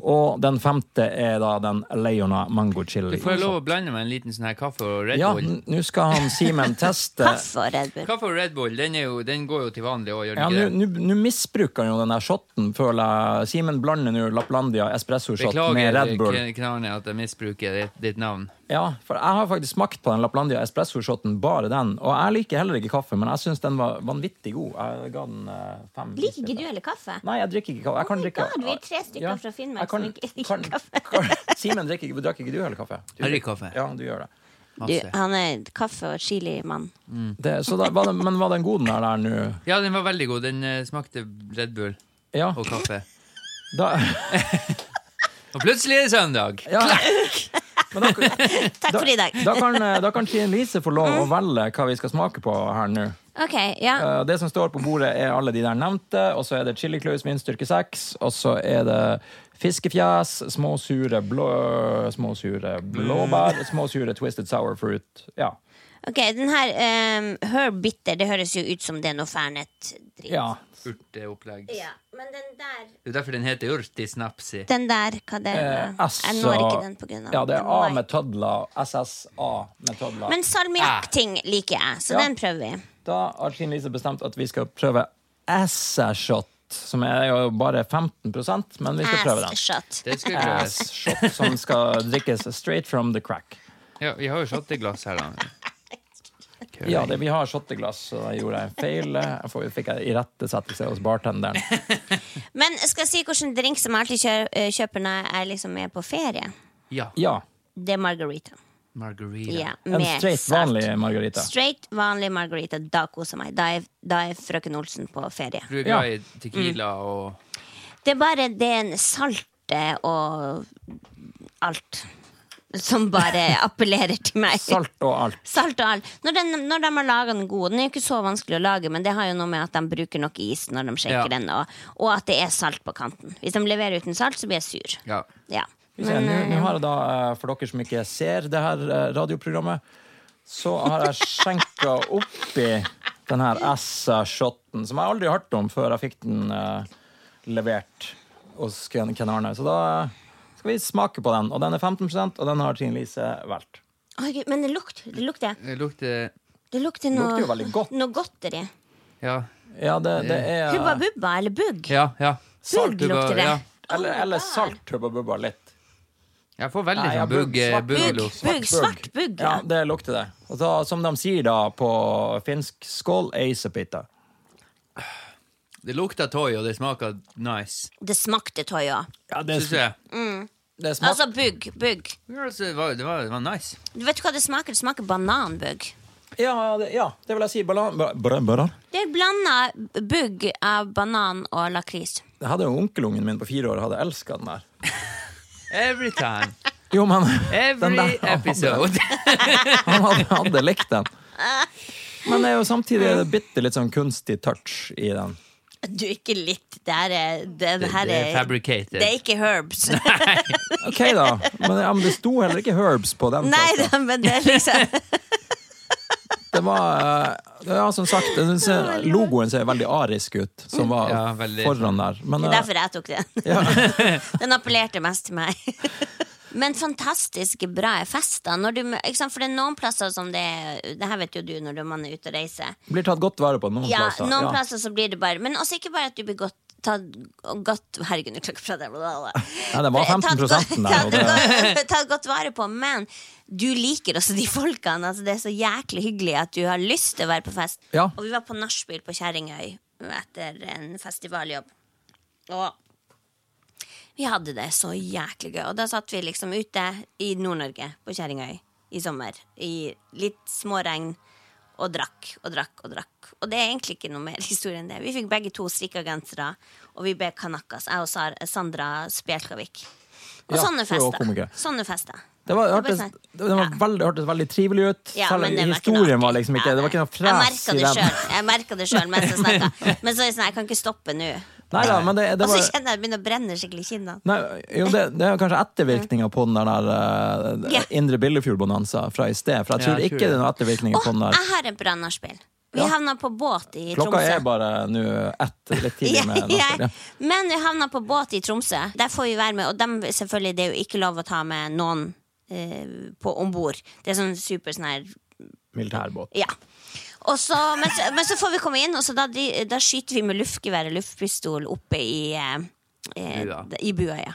Speaker 2: Og den femte er da den Leona mango chili.
Speaker 1: Får jeg lov å blande meg en liten sånn her kaffe og Red
Speaker 2: Ja,
Speaker 1: Bull?
Speaker 2: n- nå skal han
Speaker 1: [laughs]
Speaker 2: Simen teste
Speaker 3: Kaffe og Red Bull.
Speaker 1: Kaffe og Red Bull den, er jo, den går jo til vanlig òg, gjør
Speaker 2: Ja,
Speaker 1: den
Speaker 2: Nå
Speaker 1: ikke det?
Speaker 2: nå- nå misbruker han jo den der shotten, føler jeg. Simen blander nå Laplandia espresso shot med
Speaker 1: Beklager,
Speaker 2: Red Bull.
Speaker 1: Ken- Ken Arne, at jeg misbruker ditt, ditt navn.
Speaker 2: Ja, for jeg har faktisk smakt på den Laplandia espresso-shoten, bare den. Og jeg liker heller ikke kaffe, men jeg syns den var vanvittig god. Jeg ga den eh, fem.
Speaker 3: Liker du heller kaffe?
Speaker 2: Nei, jeg drikker ikke kaffe. Jeg
Speaker 3: Oh
Speaker 2: kan
Speaker 3: my
Speaker 2: drikke
Speaker 3: God, vi er tre stykker fra Finnmark
Speaker 2: jeg kan-
Speaker 3: som ikke drikker
Speaker 2: kan-
Speaker 3: kaffe.
Speaker 2: kan- Simen, drikker ikke, drakk ikke du heller kaffe? Du,
Speaker 1: Jeg drikker kaffe.
Speaker 2: Ja, du gjør det.
Speaker 3: Du,
Speaker 1: Masse.
Speaker 3: han er kaffe- og chilimann.
Speaker 2: det så da, var den, men var den god, den der der nå?
Speaker 1: Ja, den var veldig god. Den eh, smakte Red Bull
Speaker 2: Ja.
Speaker 1: og kaffe.
Speaker 2: Da,
Speaker 1: Og plutselig er det søndag!
Speaker 2: ja. Men da,
Speaker 3: Takk for i dag.
Speaker 2: da kan, eh, da kan Trine Lise få lov å velge hva vi skal smake på her nå.
Speaker 3: OK, ja.
Speaker 2: Eh, Det som står på bordet, er alle de der nevnte. Og så er det chiliklaus min styrke 6. Og så er det fiskefjes, små sure, blå, små sure
Speaker 3: Mm.
Speaker 2: blåbær, små sure twisted sour fruit. Ja.
Speaker 3: Ok, den her ehm, Her bitter, det høres jo ut som det er noe fernet-dritt.
Speaker 2: ja.
Speaker 1: Urteopplegg.
Speaker 3: Ja, men den der
Speaker 1: Det er derfor den heter urtisnapsi.
Speaker 3: Den der, hva det er
Speaker 2: Eh, S
Speaker 3: Jeg når ikke
Speaker 2: og-
Speaker 3: den på grunn av
Speaker 2: Ja, det er
Speaker 3: den
Speaker 2: A
Speaker 3: var-
Speaker 2: med tødler. SSA med tødler.
Speaker 3: Men salmiakkting liker jeg, så
Speaker 2: Ja.
Speaker 3: den prøver vi.
Speaker 2: Da har Trine Lise bestemt at vi skal prøve Assershot, som er jo bare 15 men vi skal prøve den.
Speaker 3: Ass-shot.
Speaker 1: Det skal prøves.
Speaker 2: Asshot som skal drikkes straight from the crack.
Speaker 1: Ja, vi har jo shotteglass her,
Speaker 3: [laughs]
Speaker 1: da.
Speaker 2: Ja, det, vi har shotteglass, så da gjorde jeg en feil. Jeg får- fikk jeg irettesettelse hos bartenderen.
Speaker 3: Men skal jeg si hvilken drink som jeg alltid kjø- eh, kjøper når jeg liksom er på ferie?
Speaker 1: Ja.
Speaker 2: Ja,
Speaker 3: Det er margarita.
Speaker 1: Margarita.
Speaker 3: Ja,
Speaker 2: en
Speaker 3: med
Speaker 2: straight
Speaker 3: salt.
Speaker 2: vanlig margarita.
Speaker 3: Straight, vanlig margarita. Da koser jeg meg. Da er, da er frøken Olsen på ferie.
Speaker 1: Du er
Speaker 2: Ja.
Speaker 1: glad i tequila
Speaker 3: Mm.
Speaker 1: og
Speaker 3: Det er bare den salte og alt som
Speaker 2: [laughs]
Speaker 3: bare appellerer til meg.
Speaker 2: Salt og alt.
Speaker 3: Salt og alt. Når, den, når de har laga den god, den er jo ikke så vanskelig å lage, men det har jo noe med at de bruker nok is når de shaker
Speaker 1: Ja.
Speaker 3: den, og, og at det er salt på kanten. Hvis de leverer uten salt, så blir jeg sur.
Speaker 1: Ja.
Speaker 3: Ja.
Speaker 2: Skal vi se, Nå nå har jeg da, eh, for dere som ikke ser det her eh, radioprogrammet, så har jeg skjenka oppi den her Essa-shotten, som jeg aldri har hørt om før jeg fikk den eh, levert hos Ken Ken Arne. Så da eh, skal vi smake på den. Og den er 15 og den har Trine Lise valgt.
Speaker 3: Oi, Gud, men det lukter det lukter,
Speaker 1: Det lukter
Speaker 3: det lukter
Speaker 2: Lukter
Speaker 3: noe,
Speaker 2: jo veldig godt.
Speaker 3: noe godteri.
Speaker 1: Ja.
Speaker 2: Ja, det, det er
Speaker 3: Hubba bubba eller bugg.
Speaker 1: Ja. ja.
Speaker 2: Salt
Speaker 3: Bugg lukter det.
Speaker 1: Ja.
Speaker 3: Oh
Speaker 2: Eller, eller salt Hubba Bubba litt.
Speaker 1: Jeg får veldig
Speaker 2: Nei, ja,
Speaker 1: sånn
Speaker 2: bugg,
Speaker 1: bugg
Speaker 2: svart
Speaker 1: bugg-
Speaker 3: Bugg,
Speaker 1: lukt.
Speaker 3: bugg, svart bugg.
Speaker 2: Ja,
Speaker 3: Ja.
Speaker 2: det lukter det. Og da, som de sier da på finsk, skål eisepita.
Speaker 1: Det lukter toy, og det smaker nice.
Speaker 3: Det smakte tøy òg.
Speaker 2: Ja, det,
Speaker 1: Syns jeg.
Speaker 2: det smaker
Speaker 3: Altså bugg, bugg.
Speaker 1: Ja, altså, det, var, det, var, det var nice.
Speaker 3: Du vet hva det smaker? Det smaker bananbugg.
Speaker 2: Ja, det, ja, det vil jeg si. Balan... ba- ba- balan.
Speaker 3: Det er blanda bugg av banan og lakris.
Speaker 2: Jeg hadde jo onkelungen min på fire år hadde elska den der.
Speaker 1: Every [laughs] time.
Speaker 2: Jo, men den
Speaker 1: [laughs] Every
Speaker 2: [laughs] han hadde,
Speaker 1: episode.
Speaker 2: han hadde, hadde likt
Speaker 3: [laughs]
Speaker 2: den. Men det er jo samtidig er det bitte litt sånn kunstig touch i den.
Speaker 3: Du, ikke litt. Det her er Det, det her
Speaker 1: [laughs] Det er
Speaker 3: er
Speaker 1: fabricated.
Speaker 3: det er ikke herbs. [laughs]
Speaker 2: OK, da. Men, ja, men det sto heller ikke herbs på den.
Speaker 3: Nei,
Speaker 2: plata.
Speaker 3: da, men det er liksom
Speaker 2: Det var eh, Ja, som sagt, jeg synes, eh, logoen ser veldig arisk ut, som var
Speaker 1: Ja, veldig.
Speaker 2: foran der. Men,
Speaker 3: Mm. Det er
Speaker 2: eh,
Speaker 3: derfor jeg tok den.
Speaker 2: ja,
Speaker 3: Den appellerte mest til meg. [laughs] Men fantastisk bra er fester. Når du, ikke sant? For det er noen plasser som det er Det her vet jo du når du- man er ute og reiser.
Speaker 2: [laughs] blir tatt godt vare på noen
Speaker 3: Ja,
Speaker 2: plasser.
Speaker 3: noen
Speaker 2: Ja.
Speaker 3: plasser så blir det bare Men også ikke bare at du blir godt tatt godt Herregud, nå klokka fra deg. bla, bla, bla.
Speaker 2: Nei, det var
Speaker 3: Tatt
Speaker 2: 15
Speaker 3: godt-
Speaker 2: der. Og det,
Speaker 3: tatt godt- Tatt godt vare på, men du liker også de folkene. Altså, det er så jæklig hyggelig at du har lyst til å være på fest.
Speaker 2: Ja.
Speaker 3: Og vi var på nachspiel på Kjerringøy etter en festivaljobb. Og vi hadde det så jæklig gøy. Og da satt vi liksom ute i Nord-Norge, på Kjerringøy, i sommer. I litt småregn. Og drakk og drakk og drakk. Og det er egentlig ikke noe mer [laughs] historie enn det. Vi fikk begge to strikka gensere, og vi ble kanakas. Jeg og Sar Sandra Spjelkavik. Og
Speaker 2: Ja,
Speaker 3: sånne
Speaker 2: hun er også
Speaker 3: fester.
Speaker 2: komiker.
Speaker 3: Sånne fester.
Speaker 2: Det var,
Speaker 3: Det
Speaker 2: hørtes,
Speaker 3: ble sånn.
Speaker 2: det var veldig, hørtes veldig trivelig ut.
Speaker 3: Ja,
Speaker 2: Selv
Speaker 3: men det var ikke noe
Speaker 2: historien var
Speaker 3: artig.
Speaker 2: liksom ikke
Speaker 3: Ja,
Speaker 2: Det var ikke noe
Speaker 3: Jeg
Speaker 2: fres i
Speaker 3: merka det
Speaker 2: den.
Speaker 3: selv. Jeg merket det sjøl mens jeg snakka.
Speaker 2: [laughs]
Speaker 3: Men så er det sånn, jeg kan ikke stoppe nå.
Speaker 2: Nei da, men det, det
Speaker 3: Og så
Speaker 2: var
Speaker 3: kjenner jeg det begynner å brenne skikkelig i kinnene.
Speaker 2: Nei, jo, det, det er kanskje ettervirkninger på den der eh,
Speaker 3: Ja.
Speaker 2: Indre Billefjord-bonanza fra i sted. For jeg
Speaker 1: Ja,
Speaker 2: tror
Speaker 1: jeg tror
Speaker 2: ikke det er noen ettervirkninger
Speaker 3: Åh,
Speaker 2: på den sånn der.
Speaker 3: jeg har et bra nachspiel. Vi
Speaker 2: Ja.
Speaker 3: havna på båt i
Speaker 2: Klokka
Speaker 3: Tromsø.
Speaker 2: er bare nå ett, litt
Speaker 3: [laughs]
Speaker 2: tidlig med
Speaker 3: Ja,
Speaker 2: nachspiel. ja.
Speaker 3: ja. Men vi havna på båt i Tromsø. Der får vi være med, og dem, selvfølgelig, det er jo ikke lov å ta med noen eh, på om bord. Det er sånn super sånn her
Speaker 2: Militærbåt.
Speaker 3: Ja. Og så, men, så, men så får vi komme inn, og så da, dri- da skyter vi med luftgevær og luftpistol oppe i eh, eh,
Speaker 1: Bua.
Speaker 3: I bua, ja.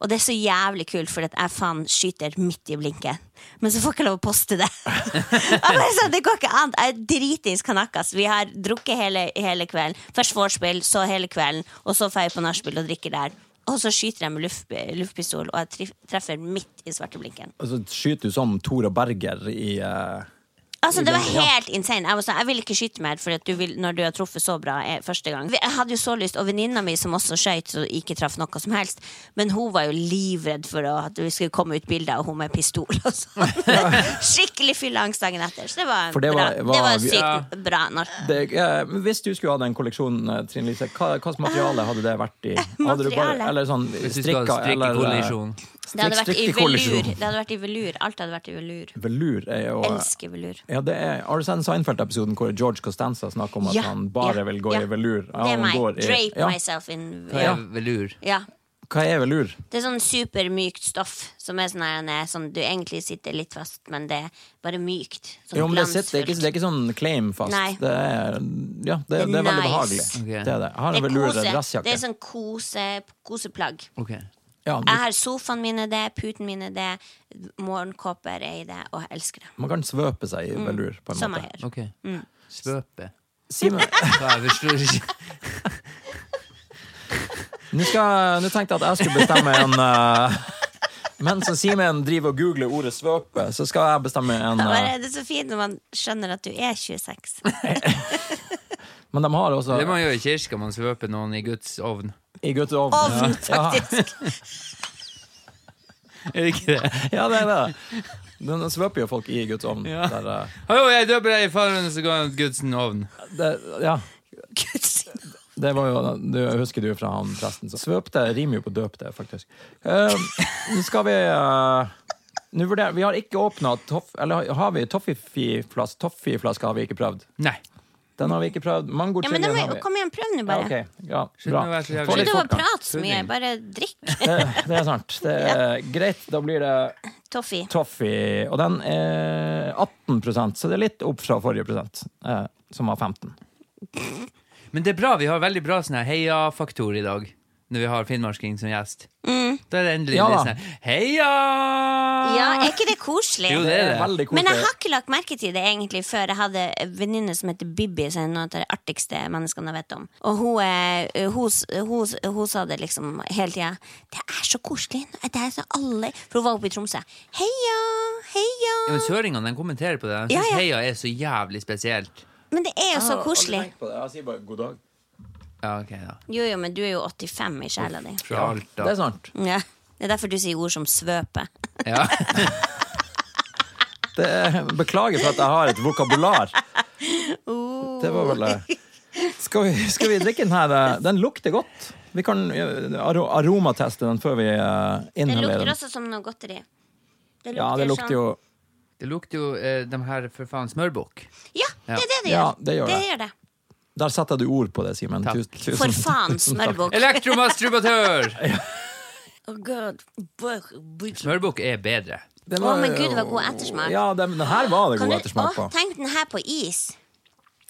Speaker 3: Og det er så jævlig kult, fordi at jeg faen skyter midt i blinken. Men så får jeg ikke lov å poste det. Jeg bare sånn, det går ikke an. Jeg er dritings kanakas. Vi har drukket hele, hele kvelden. Først vorspiel, så hele kvelden, og så drar jeg på nachspiel og drikker der. Og så skyter jeg med luft, luftpistol, og jeg trif- treffer midt i svarte blinken.
Speaker 2: Og så skyter du som Tora Berger i eh,
Speaker 3: Altså, det var
Speaker 2: Ja.
Speaker 3: helt insane. Jeg, var sånn, jeg vil ikke skyte mer fordi at du vil, når du har truffet så bra eh, første gang. Jeg hadde jo så lyst, og venninna mi som også skøyt og ikke traff noe som helst, men hun var jo livredd for å, at det skulle komme ut bilder av hun med pistol og sånn. [laughs] Skikkelig fylleangst dagen etter. Så det var,
Speaker 2: For det var-
Speaker 3: bra.
Speaker 2: var-
Speaker 3: det var sykt
Speaker 1: Ja.
Speaker 3: bra. Når,
Speaker 2: det, eh, men Hvis du skulle hatt en kolleksjon, eh, Trine Lise, hva hva slags materiale hadde det vært
Speaker 3: [laughs]
Speaker 2: i? Hadde du bare,
Speaker 3: Materiale?
Speaker 2: eller sånn
Speaker 1: Hvis du skal
Speaker 2: strikka
Speaker 1: ha
Speaker 2: eller eh,
Speaker 1: strikkekollisjon.
Speaker 3: det hadde vært i
Speaker 2: strikkekollisjon.
Speaker 3: velur. Det hadde vært i velur. Alt hadde vært i velur.
Speaker 2: eh, Velur er jo
Speaker 3: Elsker velur.
Speaker 2: ja, det er, Har du sett den Seinfeld-episoden hvor George Costanza snakker om at
Speaker 3: Ja,
Speaker 2: han bare
Speaker 3: ja,
Speaker 2: vil gå
Speaker 3: ja.
Speaker 2: i velur? Ja,
Speaker 3: Det er
Speaker 2: han
Speaker 3: meg.
Speaker 2: går i-
Speaker 3: Drape
Speaker 2: ja.
Speaker 3: myself in
Speaker 1: Hva
Speaker 3: ja.
Speaker 1: er velur?
Speaker 3: ja.
Speaker 2: Hva er velur?
Speaker 3: Det er sånn supermykt stoff som er sånn her, nei, sånn, du egentlig sitter litt fast, men det er bare mykt. Sånn
Speaker 2: Jo, men det, sitter, det, er ikke, det er ikke sånn claim fast.
Speaker 3: Nei.
Speaker 2: Det er, ja, det, det er,
Speaker 3: Det er
Speaker 2: veldig behagelig.
Speaker 3: nice.
Speaker 1: Ok.
Speaker 2: Det er det. Jeg har en
Speaker 3: glansfullt.
Speaker 2: velur
Speaker 3: Det er kose. Det
Speaker 2: dressjakke.
Speaker 3: er sånn kose, koseplagg.
Speaker 1: Ok.
Speaker 2: Ja, du,
Speaker 3: Jeg har sofaen min er det, puten min er det, morgenkåper er i det, og jeg elsker det.
Speaker 2: man kan svøpe seg i
Speaker 3: Mm.
Speaker 2: velur, på en
Speaker 3: Som
Speaker 2: måte.
Speaker 3: jeg gjør.
Speaker 1: ok Svøpe.
Speaker 2: Simen,
Speaker 3: [laughs]
Speaker 1: Hva, jeg forstår ikke.
Speaker 2: nå skal- nå tenkte jeg at jeg skulle bestemme en eh, [laughs] Mens Simen driver og googler ordet svøpe, så skal jeg bestemme en
Speaker 3: Da
Speaker 2: eh,
Speaker 3: bare er det så fint når man skjønner at du er
Speaker 2: [laughs]
Speaker 3: 26.
Speaker 2: Men de har også
Speaker 1: Det man gjør i kirka, man svøper noen i Guds ovn.
Speaker 2: i gutteovn.
Speaker 3: Ovn,
Speaker 2: Ja. [laughs]
Speaker 3: faktisk!
Speaker 1: Er det ikke det?
Speaker 2: Ja, det er det. Den svøper jo folk i Guds ovn.
Speaker 1: Ja.
Speaker 2: Der, eh,
Speaker 1: Hallo, jeg døper deg i Faderens og Guds ovn.
Speaker 2: det, ja,
Speaker 3: Gud sin
Speaker 2: det var jo du, Husker du fra han presten? som- Svøpte rimer jo på døpte, faktisk. Eh, Nå skal vi eh, Nå vurderer Vi har ikke åpna toff... Eller har vi toffiflask? Toffiflaske har vi ikke prøvd.
Speaker 1: Nei.
Speaker 2: Den har vi ikke prøvd. Mango
Speaker 3: Ja, men da
Speaker 2: chili
Speaker 3: må
Speaker 2: har
Speaker 3: jeg,
Speaker 2: vi.
Speaker 3: kom igjen, prøv nå
Speaker 2: Ja,
Speaker 3: bare.
Speaker 2: ok. ja,
Speaker 1: Slutt med
Speaker 2: bra.
Speaker 1: å være så jævlig-
Speaker 2: Få
Speaker 3: Slutt
Speaker 2: litt
Speaker 3: å
Speaker 2: fort, da.
Speaker 3: prate så mye, bare drikk
Speaker 2: Det, det er sant. Det
Speaker 3: [laughs]
Speaker 2: er greit. Da blir det
Speaker 3: toffee.
Speaker 2: [laughs] toffee. Og den er 18 så det er litt opp fra forrige prosent, eh, som var 15
Speaker 1: Men det er bra, vi har veldig bra sånn her heia-faktor i dag. Når vi har finnmarking som gjest. Da er det endelig
Speaker 2: Ja
Speaker 1: litt
Speaker 2: da.
Speaker 1: sånn her, heia!
Speaker 3: Ja, er ikke det koselig?
Speaker 1: Jo, det er det.
Speaker 2: Veldig koselig.
Speaker 3: Men jeg har ikke lagt merke til det egentlig før jeg hadde en venninne som heter Bibi, som er noen av de artigste menneskene jeg vet om. Og hun, eh, hun, s- hun, s- hun sa det liksom hele tida. Det er så koselig. Det er så alle For hun var oppe i Tromsø. Heia,
Speaker 1: Ja, men
Speaker 3: heia.
Speaker 1: Søringene de kommenterer på det. De
Speaker 3: Ja,
Speaker 1: syns
Speaker 3: ja.
Speaker 1: heia er så jævlig spesielt.
Speaker 3: Men det er jo så koselig.
Speaker 2: Jeg sier bare god dag.
Speaker 1: Ja, ok, da.
Speaker 3: Jo, jo, men du er jo 85 i sjela di.
Speaker 1: Fra Alta.
Speaker 2: Det er sant.
Speaker 3: Ja. Det er derfor du sier ord som [laughs] svøpe.
Speaker 1: Ja.
Speaker 2: [laughs] Det beklager for at jeg har et vokabular.
Speaker 3: Oh.
Speaker 2: Det var vel eh, Skal vi, skal vi drikke den her? eh, Den lukter godt. Vi kan eh, aro- aromateste den før vi eh,
Speaker 3: Det
Speaker 2: inhalerer
Speaker 3: lukter
Speaker 2: den.
Speaker 3: også som noe godteri. Det sånn-
Speaker 2: Ja, det lukter jo
Speaker 1: Det lukter jo eh, de her for faen smørbukk.
Speaker 3: Ja, det er det det gjør.
Speaker 2: Ja, det gjør det.
Speaker 3: gjør det.
Speaker 2: Der setter du ord på det, sånn- Simen.
Speaker 1: Takk.
Speaker 2: Tusen- tusen-
Speaker 3: For
Speaker 2: [laughs]
Speaker 3: faen,
Speaker 2: tusen takk.
Speaker 3: smørbukk.
Speaker 1: Elektromasturbatør!
Speaker 3: Å, Gud.
Speaker 1: Smørbukk er bedre.
Speaker 2: Den
Speaker 3: Å,
Speaker 2: var
Speaker 3: men
Speaker 2: jo-
Speaker 3: Gud, var god ettersmak.
Speaker 2: Ja, den, den her var det
Speaker 3: Kan
Speaker 2: god
Speaker 3: du-
Speaker 2: ettersmak
Speaker 3: Å,
Speaker 2: på.
Speaker 3: Tenk den her på is.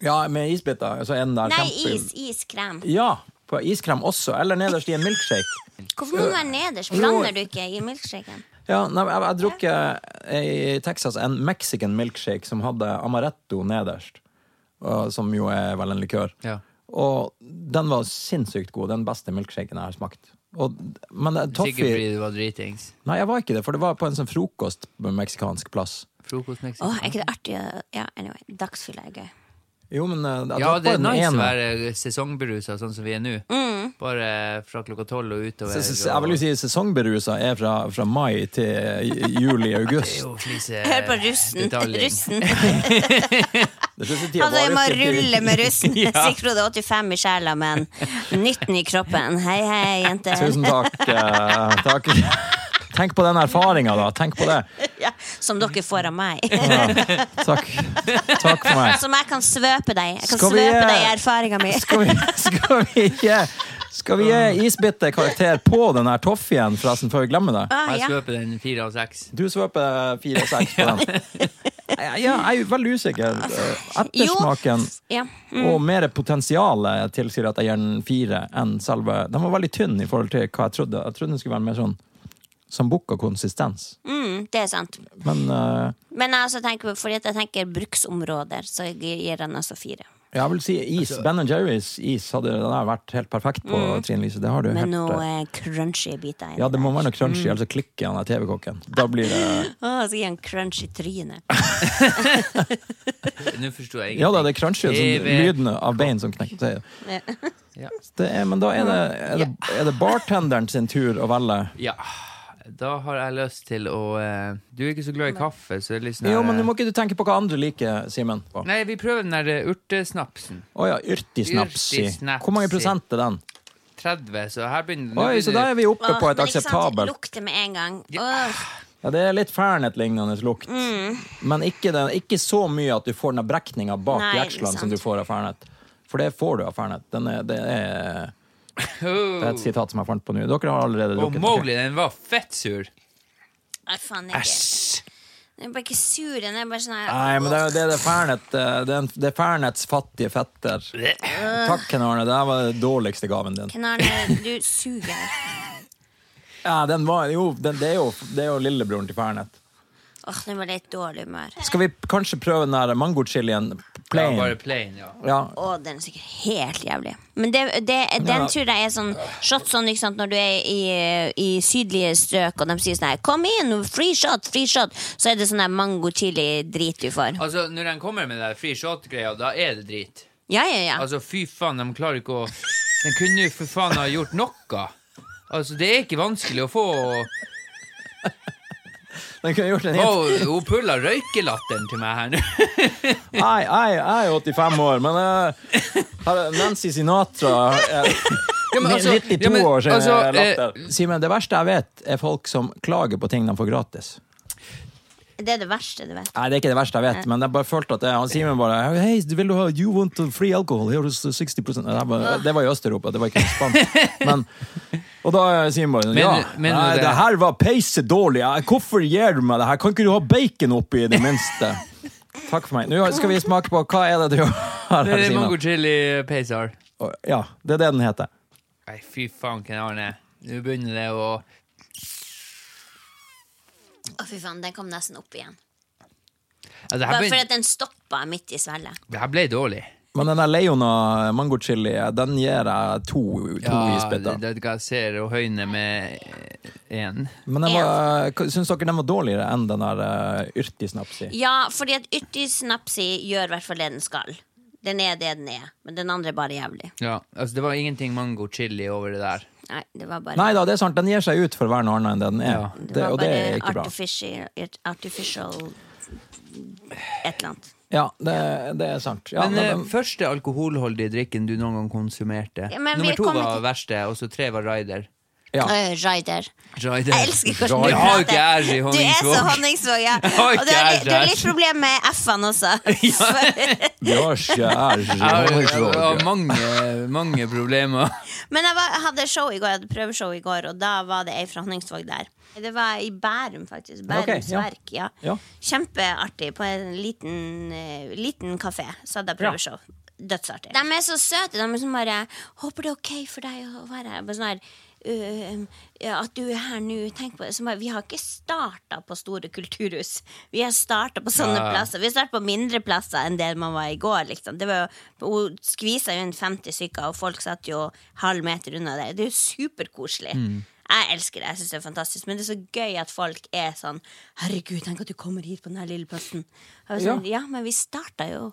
Speaker 2: Ja, med isbiter. Så er den der
Speaker 3: Nei,
Speaker 2: kjempe-
Speaker 3: is. Iskrem.
Speaker 2: Ja, på iskrem også. Eller nederst i en milkshake.
Speaker 3: Hvorfor må den være nederst? Blander du ikke i milkshaken?
Speaker 2: Ja, nei, jeg, jeg drukket eh, i Texas en mexican milkshake som hadde amaretto nederst. og- som jo er vel en likør.
Speaker 1: Ja.
Speaker 2: Og den var sinnssykt god. Den beste milkshaken jeg har smakt. Og, men det-
Speaker 1: Sikkert
Speaker 2: toffee
Speaker 1: fordi du var dritings.
Speaker 2: Nei, jeg var ikke det, for det var på en sånn frokost på meksikansk plass.
Speaker 3: Å,
Speaker 1: Frokostmexican.
Speaker 3: er ikke det artig å Ja, anyway. Dagsfylla er gøy.
Speaker 2: Jo, men eh, jeg
Speaker 1: Ja,
Speaker 2: droppa
Speaker 1: det er
Speaker 2: den
Speaker 1: nice å
Speaker 2: ene.
Speaker 1: være sesongberusa sånn som vi er nå.
Speaker 3: Mm.
Speaker 1: Bare fra klokka tolv og utover.
Speaker 2: Se- se- Jeg vil jo si sesongberusa er fra, fra mai til juli-august.
Speaker 3: Hør på russen.
Speaker 2: [laughs]
Speaker 3: Russen. Altså, jeg må rulle med
Speaker 2: [laughs]
Speaker 3: russen. Sikkert det er 85 i sjela, men 19 i kroppen. Hei, hei, jenter.
Speaker 2: Tusen takk. eh, takk. Tenk på den erfaringa, da. Tenk på det.
Speaker 3: Ja, som dere får av meg.
Speaker 2: [laughs] Ja. Takk. Takk for meg.
Speaker 3: Som jeg kan svøpe deg. Jeg kan
Speaker 2: Skal vi,
Speaker 3: svøpe deg i
Speaker 2: eh,
Speaker 3: erfaringa mi.
Speaker 2: Skal vi, skal vi ikke Skal vi gi isbitte karakter på den her toffien, forresten, før vi glemmer det?
Speaker 3: Ah,
Speaker 1: Jeg
Speaker 3: ja.
Speaker 1: svøper den fire av seks.
Speaker 2: Du svøper fire og seks på
Speaker 3: [laughs]
Speaker 2: den. Ja, jeg er jo veldig usikker. Ettersmaken
Speaker 3: Ja.
Speaker 2: og mer potensial tilsier at jeg gir den fire enn selve Den var veldig tynn i forhold til hva jeg trodde. Jeg trodde den skulle være mer sånn Sambuca konsistens.
Speaker 3: Mm, det er sant.
Speaker 2: Men eh,
Speaker 3: Men jeg, også tenker, fordi at jeg tenker bruksområder, så jeg gir den altså fire.
Speaker 2: jeg vil si is. Ben Jerrys is hadde det der vært helt perfekt på, Trine Lise. Det har du
Speaker 3: Med
Speaker 2: helt
Speaker 3: noe
Speaker 2: eh,
Speaker 3: eh, crunchy biter inni
Speaker 2: Ja, det må
Speaker 3: der.
Speaker 2: være noe crunchy, ellers så klikker han av TV-kokken. Da blir det
Speaker 3: Å, så gir han crunch i
Speaker 2: [laughs]
Speaker 3: trynet.
Speaker 1: Nå forsto jeg
Speaker 2: Ja
Speaker 1: ingenting.
Speaker 2: da, det er crunchy, sånn,
Speaker 1: TV.
Speaker 2: lyden av bein som knekker. Det-
Speaker 1: Ja.
Speaker 2: Det er, men da er det, er, det, er det bartenderen sin tur å velge.
Speaker 1: Ja. Da har jeg lyst til å eh, Du er ikke så glad i kaffe, så det er litt sånn
Speaker 2: Jo,
Speaker 1: her,
Speaker 2: men
Speaker 1: eh,
Speaker 2: du må ikke du tenke på hva andre liker, Simen. Å
Speaker 1: Nei, vi prøver den der eh, urtesnapsen.
Speaker 2: ja, yrtisnapsi.
Speaker 1: Yrtisnapsi.
Speaker 2: Hvor mange prosent er den?
Speaker 1: 30, så her begynner nå
Speaker 2: Oi, så da
Speaker 1: begynner-
Speaker 2: er vi oppe
Speaker 3: Åh,
Speaker 2: på et
Speaker 3: men ikke sant,
Speaker 2: akseptabelt
Speaker 3: Lukter med en gang. Åh,
Speaker 2: Ja, det er litt Fernet-lignende lukt.
Speaker 3: Mm.
Speaker 2: Men ikke, den, ikke så mye at du får den brekninga bak
Speaker 3: Nei,
Speaker 2: jekslene som
Speaker 3: sant.
Speaker 2: du får av Fernet. For det får du av Fernet. Den er, det, er, det er et sitat som jeg fant på nå. Dere har allerede
Speaker 1: Å,
Speaker 2: drukket.
Speaker 1: Mowgli, den var fettsur.
Speaker 3: Nei, faen jeg er ikke.
Speaker 1: Æsj!
Speaker 3: Jeg er bare ikke sur. Jeg er bare sånn her
Speaker 2: Nei, men det, er- det er det Fernet eh, Det er, en- det er Fernets fattige fetter. Takk, Ken Arne. Det her var den dårligste gaven din.
Speaker 3: Ken Arne, du suger.
Speaker 2: Ja, den var, jo, den, det, er jo, det er jo lillebroren til Fernet.
Speaker 3: Åh, nå ble jeg i litt dårlig humør.
Speaker 2: Skal vi kanskje prøve den der mangochilien
Speaker 1: Ja,
Speaker 2: plain? Ja,
Speaker 1: bare plain, ja.
Speaker 3: Å, den er sikkert helt jævlig. Men det, det, den tror jeg er sånn shot sånn ikke sant, når du er i, i sydlige strøk, og de sier sånn her 'Kom inn, free shot, free shot', så er det sånn der mango-chili-drit du får.
Speaker 1: Altså, når de kommer med den der free shot-greia, da er det drit.
Speaker 3: Ja, ja, ja.
Speaker 1: Altså, fy faen, de klarer ikke å De kunne jo for faen ha gjort noe. Altså, det er ikke vanskelig å få
Speaker 2: Den kunne gjort en hit.
Speaker 1: Å, Hun pulla røykelatteren til meg her nå.
Speaker 2: Nei, jeg, jeg er 85 år, men eh, her er Nancy Sinatra eh,
Speaker 1: [laughs] Ja, men altså-
Speaker 2: 92
Speaker 1: ja, men
Speaker 2: år siden
Speaker 1: altså,
Speaker 2: jeg eh, latter. Simen, det verste jeg vet, er folk som klager på ting de får gratis. Altså-
Speaker 3: Det er det verste du vet.
Speaker 2: Nei, det er ikke det verste jeg vet, men jeg bare følte at det, han Simen bare Hei, vil du ha You want free alcohol? Here is 60 Nei, Det var, det var i Øst-Europa, det var ikke i Spania. Men, og da er Simen bare Ja,
Speaker 1: men-
Speaker 2: nei,
Speaker 1: det-
Speaker 2: det her var peise dårlig. Jeg- Hvorfor gir du meg det her? Kan ikke du ha bacon oppi, i det minste? Takk for meg. Nå skal vi smake på hva er det du har
Speaker 1: Det
Speaker 2: her,
Speaker 1: er mango
Speaker 2: Simen.
Speaker 1: chili pesar.
Speaker 2: Ja, det er det den heter.
Speaker 1: Nei, fy faen, Ken Arne. Nå begynner det å
Speaker 3: Å, fy faen, den kom nesten opp igjen.
Speaker 1: ja, Altså, det, her
Speaker 3: Bare fordi
Speaker 1: begyn-
Speaker 3: at den stoppa midt i svelget.
Speaker 1: det her ble dårlig.
Speaker 2: Men den der Leona mangochili, den gir jeg to, to
Speaker 1: det,
Speaker 2: isbiter.
Speaker 1: det skal jeg se og høyne med én.
Speaker 2: Men den var, syns dere den var dårligere enn den der uh, yrtisnapsi?
Speaker 3: Ja, fordi at yrtisnapsi gjør i hvert fall det den skal. Den er det den er, men den andre er bare jævlig.
Speaker 1: Ja, altså, det var ingenting mango chili over det der.
Speaker 3: Nei, det var bare
Speaker 2: Nei da, det er sant. Den gir seg ut for å være noe annet enn det den er.
Speaker 1: Ja.
Speaker 2: Det, og det er ikke bra.
Speaker 3: artificial, artificial et eller annet.
Speaker 2: Ja, det, det er sant. Ja,
Speaker 1: Men
Speaker 2: nei,
Speaker 1: eh,
Speaker 2: den-
Speaker 1: første alkoholholdige drikken du noen gang konsumerte?
Speaker 3: Ja, men vi
Speaker 1: Nummer to
Speaker 3: kommer
Speaker 1: var
Speaker 3: til-
Speaker 1: verste, og så tre var Rider.
Speaker 2: ja.
Speaker 3: Øh, Ryder.
Speaker 1: Rider.
Speaker 3: Jeg elsker
Speaker 1: Rider.
Speaker 3: hvordan du
Speaker 1: Jeg har ikke
Speaker 3: prater.
Speaker 1: æsj i
Speaker 3: Du er så
Speaker 1: Honningsvåg.
Speaker 3: honningsvåg, ja.
Speaker 1: har
Speaker 3: Og du
Speaker 1: ikke
Speaker 3: har, litt- du har
Speaker 1: æsj.
Speaker 3: litt problem med F-ene også. [laughs]
Speaker 2: Vi har ikke æsj.
Speaker 1: Jeg har, jeg
Speaker 2: Honningsvåg.
Speaker 1: har mange, mange problemer.
Speaker 3: Men jeg, var, jeg hadde show i går, jeg hadde prøveshow i går, og da var det ei fra Honningsvåg der. Det var i Bærum, faktisk. Bærums
Speaker 2: Ok, ja.
Speaker 3: Verk. Ja.
Speaker 2: Ja.
Speaker 3: Kjempeartig. På en liten, eh, liten kafé så hadde jeg prøveshow. Dødsartig. De er så søte. De er sånn bare 'Håper det er ok for deg å være her.' Bare sånn her «Øh, ja, at du er her nå, tenk på det. Så bare, vi har ikke starta på store kulturhus. Vi har starta på sånne
Speaker 1: Ja.
Speaker 3: plasser. Vi har starta på mindre plasser enn det man var i går. Liksom. Det var jo, hun skvisa jo inn 50 stykker, og folk satt jo halv meter unna der. Det er jo superkoselig. Jeg elsker det. jeg synes det er fantastisk Men det er så gøy at folk er sånn 'Herregud, tenk at du kommer hit på denne lille plassen'. Jeg var sånn, ja. men vi starta jo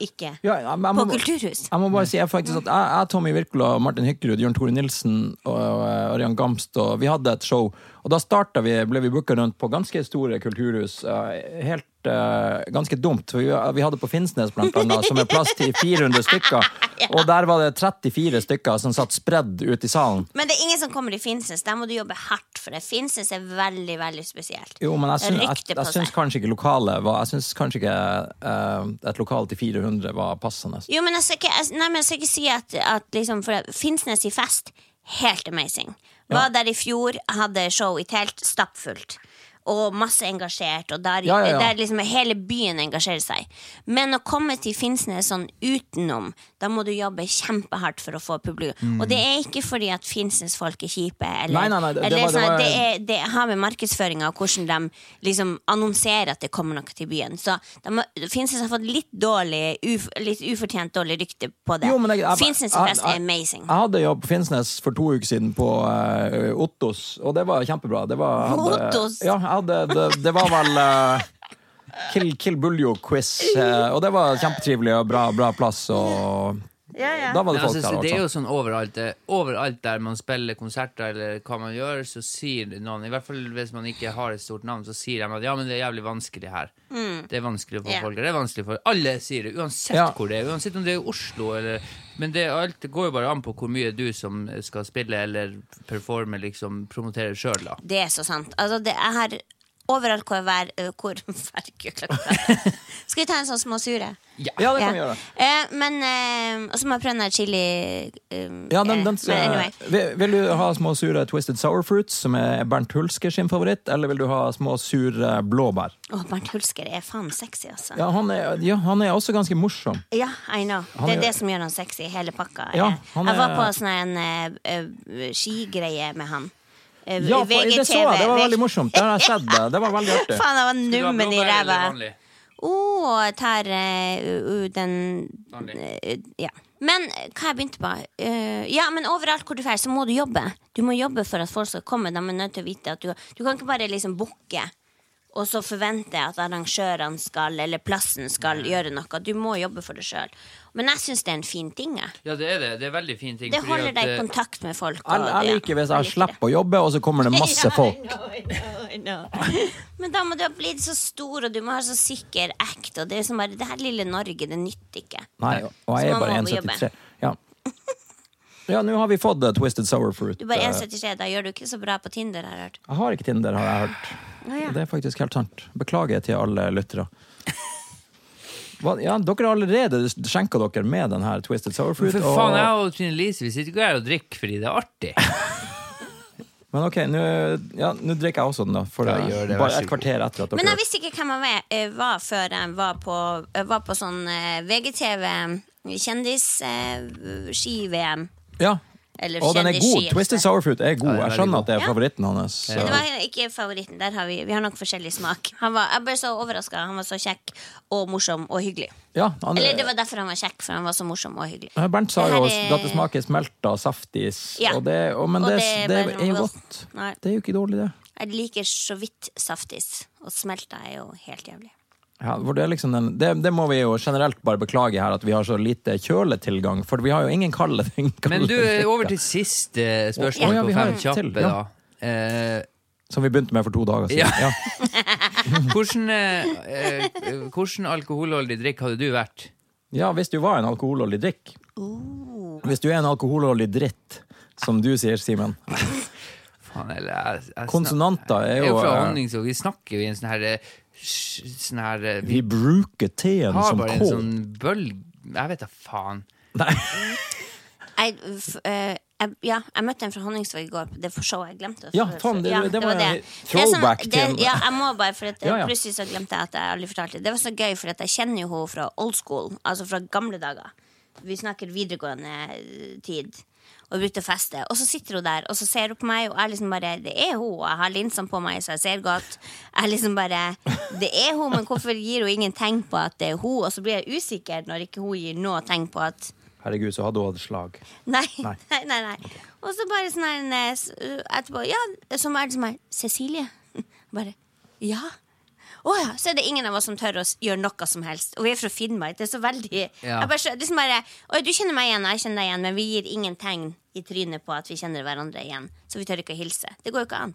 Speaker 3: ikke
Speaker 2: Ja, jeg- jeg
Speaker 3: på
Speaker 2: må-
Speaker 3: kulturhus.
Speaker 2: Jeg må bare si jeg, faktisk, at jeg, jeg Tommy Wirkola, Martin Hykkerud, Jørn Tore Nilsen og eh, Ørjan Gamst og vi hadde et show. Og da starta vi, ble vi booka rundt på ganske store kulturhus. eh, Helt eh, Ganske dumt. for Vi, vi hadde på Finnsnes, blant annet, som er plass til 400
Speaker 3: [laughs]
Speaker 2: stykker. Og der var det 34 stykker som satt spredd ute i salen.
Speaker 3: Men det er ingen som kommer i Finnsnes. Der må du jobbe hardt for det. Finnsnes er veldig, veldig spesielt.
Speaker 2: Jo, men jeg syns, jeg,
Speaker 3: Rykte på
Speaker 2: jeg syns
Speaker 3: seg.
Speaker 2: kanskje ikke lokalet var Jeg syns kanskje ikke eh, et lokal til 400 var passende.
Speaker 3: Jo, men jeg skal ikke, jeg, nei, men jeg skal ikke si at, at liksom, for at Finnsnes i fest, helt amazing. Var der i fjor, hadde show i telt, stappfullt. og masse engasjert, og der,
Speaker 2: Ja, ja, ja.
Speaker 3: der liksom hele byen engasjerer seg. Men å komme til Finnsnes sånn utenom, da må du jobbe kjempehardt for å få
Speaker 2: Mm.
Speaker 3: publikum. Og det er ikke fordi at Finnsnes-folk er kjipe, eller,
Speaker 2: Nei, nei, nei, det-
Speaker 3: eller
Speaker 2: det var- det
Speaker 3: sånn at
Speaker 2: var-
Speaker 3: det, er, det har med markedsføringa og hvordan de liksom annonserer at det kommer noe til byen. Så de, har- Finnsnes har fått litt dårlig, uf, litt ufortjent dårlig rykte på det.
Speaker 2: Jo, men jeg- jeg-
Speaker 3: Finnsnes-fest
Speaker 2: jeg-
Speaker 3: er amazing.
Speaker 2: Jeg hadde jobb på Finnsnes for to uker siden på eh, Ottos, og det var kjempebra. Det var, jeg hadde,
Speaker 3: Ottos?
Speaker 2: Ja, jeg hadde, det, det var vel eh, Kill, Kill Buljo-quiz, eh, og det var kjempetrivelig og bra, bra plass. Og,
Speaker 3: Ja, ja.
Speaker 2: Da var
Speaker 1: Men
Speaker 2: det folk
Speaker 1: altså,
Speaker 2: der,
Speaker 1: så det er
Speaker 2: altså.
Speaker 1: jo sånn overalt. det- Overalt der man spiller konserter, eller hva man gjør, så sier noen I hvert fall hvis man ikke har et stort navn, så sier de at ja, men det er jævlig vanskelig her. Det er vanskelig for
Speaker 3: Mm. Ja.
Speaker 1: folk. Det er vanskelig for Alle sier det, uansett
Speaker 2: Ja.
Speaker 1: hvor det er. Uansett om det er i Oslo eller Men det, er alt, det går jo bare an på hvor mye du som skal spille eller performe, liksom promotere sjøl, da.
Speaker 3: Det er så sant. Altså, det er her overalt hvor hver, eh, hvor [laughs] hver
Speaker 2: [laughs]
Speaker 3: klokka. Skal vi ta en sånn småsure?
Speaker 2: Ja, det kan vi gjøre.
Speaker 3: Eh, men eh, Og så må jeg prøve den der chili eh,
Speaker 2: Ja, den,
Speaker 3: eh,
Speaker 2: den,
Speaker 3: men anyway.
Speaker 2: vil, vil du ha små sure Twisted Sour Fruits, som er Bernt Hulsker sin favoritt, eller vil du ha små sure blåbær?
Speaker 3: Å, Bernt Hulsker er faen sexy, altså.
Speaker 2: Ja, han er, ja, han er også ganske morsom.
Speaker 3: Ja, I know.
Speaker 2: Han
Speaker 3: det er
Speaker 2: er-
Speaker 3: det som gjør han sexy, hele pakka.
Speaker 2: Ja,
Speaker 3: Eh,
Speaker 2: han
Speaker 3: Jeg var
Speaker 2: er-
Speaker 3: på sånn her en eh, eh, skigreie med han. Eh,
Speaker 2: Ja, på, det så jeg, det var veldig morsomt. Det har jeg sett. Det, det var veldig artig.
Speaker 3: Faen, jeg var
Speaker 1: Du har
Speaker 3: nummen i
Speaker 1: blåbær eller
Speaker 3: ræva.
Speaker 1: vanlig?
Speaker 3: Å, jeg tar eh, u- u- den
Speaker 1: Vanlig.
Speaker 3: eh, Ja. Men eh, hva jeg begynte på? Eh, ja, men overalt hvor du drar, så må du jobbe. Du må jobbe for at folk skal komme. De er nødt til å vite at du Du kan ikke bare liksom booke og så forvente at arrangørene skal, eller plassen skal, gjøre noe. Du må jobbe for det sjøl. Men jeg syns det er en fin ting. Jeg.
Speaker 1: Ja, det er det. Det er veldig fin ting.
Speaker 3: Det
Speaker 1: fordi
Speaker 3: holder
Speaker 1: at,
Speaker 3: deg
Speaker 1: eh,
Speaker 3: i kontakt med folk. og-
Speaker 2: Jeg, jeg
Speaker 3: ja,
Speaker 2: liker hvis jeg
Speaker 3: liker det.
Speaker 2: slipper å jobbe, og så kommer det masse folk.
Speaker 3: Ja, I know, I know, I know. [laughs] Men da må du ha blitt så stor, og du må ha så sikker act. Og det er som bare, det her lille Norge, det nytter ikke.
Speaker 2: Nei, og jeg
Speaker 3: Så
Speaker 2: er
Speaker 3: man
Speaker 2: bare
Speaker 3: må jobbe.
Speaker 2: 1,73. Ja, Ja, nå har vi fått eh, Twisted Sour Fruit.
Speaker 3: Du er bare
Speaker 2: Eh,
Speaker 3: 1,73, da gjør du ikke så bra på Tinder, har jeg hørt.
Speaker 2: Jeg har ikke Tinder, har jeg hørt.
Speaker 3: ja.
Speaker 2: Det er faktisk helt sant. Beklager til alle
Speaker 3: [laughs]
Speaker 2: lyttere. Hva- Ja, dere har allerede skjenka dere med den her Twisted Sour Fruit.
Speaker 1: For
Speaker 2: og-
Speaker 1: faen, jeg og Trine Lise vi sitter ikke her og drikker fordi det er artig.
Speaker 2: Men ok, nå ja, nå drikker jeg også den, da. For
Speaker 1: Ja,
Speaker 2: det-
Speaker 1: gjør det, vær
Speaker 2: bare
Speaker 1: så
Speaker 2: et kvarter etter at dere
Speaker 3: Men jeg visste ikke hvem jeg var, eh, var før jeg var på, eh, var på sånn eh, VGTV eh, kjendis-ski-VM.
Speaker 2: Ja.
Speaker 3: Eller
Speaker 2: Og den er god.
Speaker 3: kjendisski.
Speaker 2: Twisted Sour Fruit er god.
Speaker 1: Ja, den er
Speaker 2: Jeg skjønner
Speaker 1: veldig
Speaker 2: at det er
Speaker 3: god.
Speaker 2: favoritten hans. så-
Speaker 3: Men det var ikke favoritten. Der har vi, vi har nok forskjellig smak. Han var, jeg ble så overraska. Han var så kjekk og morsom og hyggelig.
Speaker 2: Ja, han,
Speaker 3: Eller det var derfor han var kjekk, for han var så morsom og hyggelig.
Speaker 2: Bernt sa
Speaker 3: Det
Speaker 2: jo
Speaker 3: her er-
Speaker 2: at det smaker smelta saftis,
Speaker 3: Ja.
Speaker 2: og det, og, men
Speaker 3: Og
Speaker 2: det,
Speaker 3: det er
Speaker 2: det,
Speaker 3: bare
Speaker 2: er jo
Speaker 3: noe-
Speaker 2: godt.
Speaker 3: Nei.
Speaker 2: Det er jo ikke dårlig, det.
Speaker 3: Jeg liker så vidt saftis, og smelta er jo helt jævlig.
Speaker 2: Ja, for det, er liksom den, det, det må vi jo generelt bare beklage her, at vi har så lite kjøletilgang. For vi har jo ingen kalde [laughs] ting.
Speaker 1: Men du, over til siste spørsmål
Speaker 2: Å, ja, vi
Speaker 1: på
Speaker 2: har
Speaker 1: Fem
Speaker 2: et
Speaker 1: kjappe,
Speaker 2: til,
Speaker 1: da.
Speaker 2: ja.
Speaker 1: Eh,
Speaker 2: Som vi begynte med for to dager siden.
Speaker 1: Ja.
Speaker 2: Ja.
Speaker 1: hvordan, eh, eh, hvordan alkoholholdig drikk hadde du vært?
Speaker 2: Ja, hvis du var en alkoholholdig drikk.
Speaker 3: Oh.
Speaker 2: Hvis du er en alkoholholdig dritt, som du sier, Simen.
Speaker 1: Faen, eller jeg, jeg snak-
Speaker 2: Konsonanter er
Speaker 1: Jeg er
Speaker 2: jo
Speaker 1: jo fra
Speaker 2: eh,
Speaker 1: Honningsvåg. Vi snakker jo i en sånn her eh, sj- Sånn her eh, Vi
Speaker 2: Vi bruker teen
Speaker 1: har
Speaker 2: som
Speaker 1: bare en
Speaker 2: kål.
Speaker 1: sånn bølg... Jeg vet da faen.
Speaker 2: Nei.
Speaker 3: Jeg, f, eh, jeg, ja, jeg møtte en fra Honningsvåg i går. Det for showet jeg glemte. å-
Speaker 2: Ja, faen, det- det var en throwback
Speaker 3: sånn- det,
Speaker 2: til en-
Speaker 3: Ja, jeg må bare, for at,
Speaker 2: Ja, ja.
Speaker 3: plutselig så glemte jeg at jeg aldri fortalte det. Det var så gøy, for at jeg kjenner jo henne fra old school, altså fra gamle dager. Vi snakker videregående eh, tid. Og brukte feste. Og så sitter hun der og så ser hun på meg, og jeg liksom bare Det er hun, og jeg har linsene på meg, så jeg ser godt. Jeg liksom bare Det er hun, men hvorfor gir hun ingen tegn på at det er hun? Og så blir jeg usikker når ikke hun gir noe tegn på at
Speaker 2: Herregud, så hadde hun hatt slag.
Speaker 3: Nei,
Speaker 2: Nei.
Speaker 3: nei, [laughs] nei, nei. Og så bare sånn her eh, s- uh, etterpå Ja, som er det som er Cecilie. [laughs] Bare Ja. Å ja. Så er det ingen av oss som tør å s- gjøre noe som helst. Og vi er fra Finnmark. Det er så veldig
Speaker 1: Ja.
Speaker 3: jeg bare, skjø- Det er som bare Oi, du kjenner meg igjen, og jeg kjenner deg igjen, men vi gir ingen tegn i trynet på at vi kjenner hverandre igjen. Så vi tør ikke å hilse. Det går jo ikke an.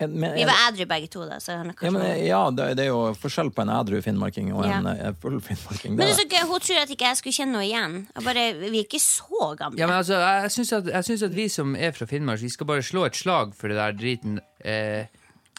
Speaker 2: En- men-
Speaker 3: Vi var ædru begge to, da. Så han er
Speaker 2: ja,
Speaker 3: kanskje
Speaker 2: men,
Speaker 1: eh,
Speaker 2: ja, det det er jo forskjell på en ædru finnmarking og en
Speaker 3: Ja.
Speaker 2: eh, full finnmarking.
Speaker 3: men det
Speaker 2: Det
Speaker 3: er
Speaker 2: er-
Speaker 3: så gøy, hun tror at ikke jeg skulle kjenne henne igjen. Jeg bare, Vi er ikke så gamle.
Speaker 1: Ja, men altså, jeg syns at, jeg synes at vi som er fra Finnmark, vi skal bare slå et slag for det der driten. Eh,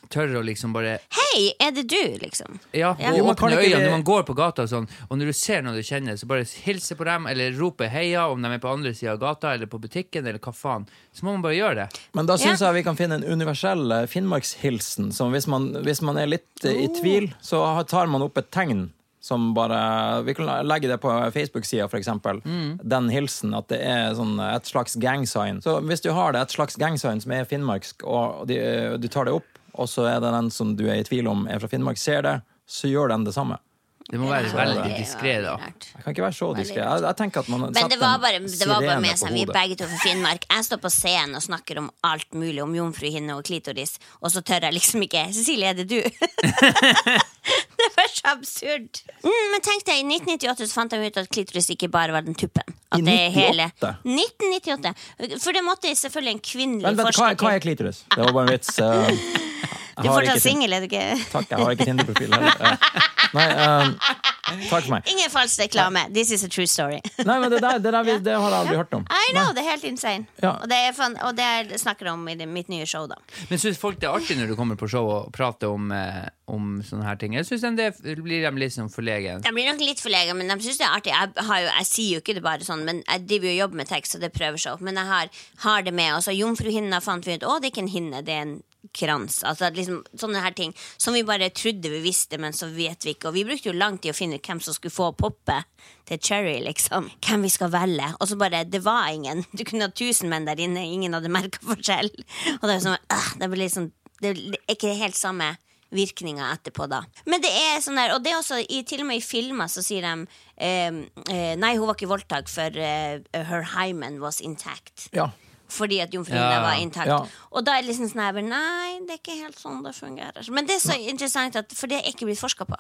Speaker 1: tør å liksom bare
Speaker 3: Hei, er det du, liksom?
Speaker 1: Ja,
Speaker 3: Ja.
Speaker 1: og
Speaker 2: Jo, man kan
Speaker 1: åpne
Speaker 2: ikke-
Speaker 1: øynene når man går på gata og sånn, og når du ser noen du kjenner, så bare hilse på dem, eller rope heia om de er på andre sida av gata, eller på butikken, eller hva faen. Så må man bare gjøre det.
Speaker 2: Men da syns jeg vi kan finne en universell eh, finnmarkshilsen. Som hvis man, hvis man er litt eh,
Speaker 3: Oh.
Speaker 2: i tvil, så har- tar man opp et tegn. Som bare, vi kan legge det på Facebook-sida, f.eks. eksempel
Speaker 3: Mm.
Speaker 2: Den hilsen. At det er sånn eh, et slags gangsign. Så hvis du har det, et slags gangsign som er finnmarksk, og de, eh, du tar det opp, og så er det den som du er i tvil om er fra Finnmark, ser det, så gjør den det samme.
Speaker 1: Det må være
Speaker 3: Ja,
Speaker 1: veldig
Speaker 3: det er
Speaker 1: diskré, da.
Speaker 3: veldig rart.
Speaker 2: Jeg kan ikke være så diskré. Jeg, jeg tenker at man
Speaker 3: Men det
Speaker 2: setter
Speaker 3: var
Speaker 2: en
Speaker 3: bare, det var bare
Speaker 2: sirene
Speaker 3: med
Speaker 2: på
Speaker 3: seg. Vi er
Speaker 2: hodet.
Speaker 3: begge to fra Finnmark. Jeg står på scenen og snakker om alt mulig, om jomfruhinne og klitoris, og så tør jeg liksom ikke. Cecilie, er
Speaker 2: [laughs]
Speaker 3: det du? det var så absurd. Mm, men tenk deg, i 1998 så fant de ut at klitoris ikke bare var den tuppen. At
Speaker 2: I
Speaker 3: det er hele
Speaker 2: 98?
Speaker 3: 1998. For det måtte selvfølgelig en kvinnelig
Speaker 2: Vent, vent, hva,
Speaker 3: forsker
Speaker 2: hva er klitoris? Det var bare en
Speaker 3: [laughs]
Speaker 2: vits. eh, jeg
Speaker 3: Du
Speaker 2: har ikke
Speaker 3: er fortsatt
Speaker 2: Tinder.
Speaker 3: singel, er du ikke?
Speaker 2: Takk, jeg har ikke Tinder-profil
Speaker 3: [laughs]
Speaker 2: heller. Eh, Nei, eh, takk for meg.
Speaker 3: Ingen falsk reklame. This is a true
Speaker 2: [laughs]
Speaker 3: story.
Speaker 2: Nei, men det der, det der vi, det har jeg aldri hørt om.
Speaker 3: I know, det er helt insane.
Speaker 2: Ja.
Speaker 3: Og det, er fan, og det er- snakker jeg om i det, mitt nye show, da.
Speaker 1: Men syns folk det er artig når du kommer på show og prater om, eh, om sånne her ting? Jeg syns det blir dem litt sånn forlegen.
Speaker 3: De blir nok litt forlegen, men de syns det er artig. Jeg, har jo, jeg sier jo ikke det bare sånn, men jeg driver jo og jobber med tekst, og det er prøveshow. Men jeg har, har det med. Og så jomfruhinna fant vi ut Å, det er ikke en hinne, det er en krans. Altså at liksom, Sånne her ting som vi bare trodde vi visste, men så vet vi ikke. Og vi brukte jo lang tid å finne ut hvem som skulle få poppe til Cherry, liksom. Hvem vi skal velge. Og så bare Det var ingen. Du kunne ha tusen menn der inne, ingen hadde merka forskjell. Og det er jo sånn, «Åh», det blir liksom Det er ikke helt samme virkninger etterpå, da. Men det er sånn der, og det er også i, til og med i filmer så sier de ehm, eh, Nei, hun var ikke voldtatt, for eh, her hymen was intact.
Speaker 2: Ja.
Speaker 3: Fordi at jomfruhinna
Speaker 1: Ja,
Speaker 3: var intakt.
Speaker 2: ja.
Speaker 3: Og da er det liksom sånn her Nei, det er ikke helt sånn det fungerer. Men det er så interessant, at, for det er ikke blitt forska på.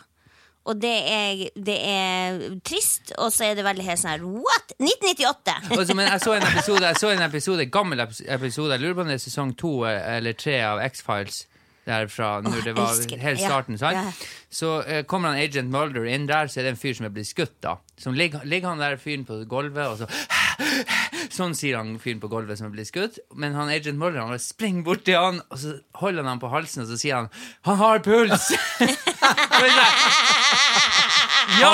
Speaker 3: Og det er, det er trist, og så er det veldig helt sånn her What?!
Speaker 1: [laughs]
Speaker 3: 1998!
Speaker 1: Altså, men jeg så en episode, jeg så en episode, gammel epis- episode, jeg lurer på om det er sesong to eh, eller tre av X-Files. Der fra når
Speaker 3: Åh,
Speaker 1: det var
Speaker 3: elsker det.
Speaker 1: helt
Speaker 3: Ja,
Speaker 1: starten, sant?
Speaker 3: ja.
Speaker 1: Så eh, kommer han agent Mulder inn der, så er det en fyr som er blitt skutt, da. Så ligger, ligger han der fyren på gulvet, og så [laughs] Sånn sier han fyren på gulvet som er blitt skutt. Men han agent Mulder han bare springer bort til han, og så holder han han på halsen, og så sier han 'Han har puls'! [laughs] Og jeg
Speaker 3: [laughs]
Speaker 1: sa, ja!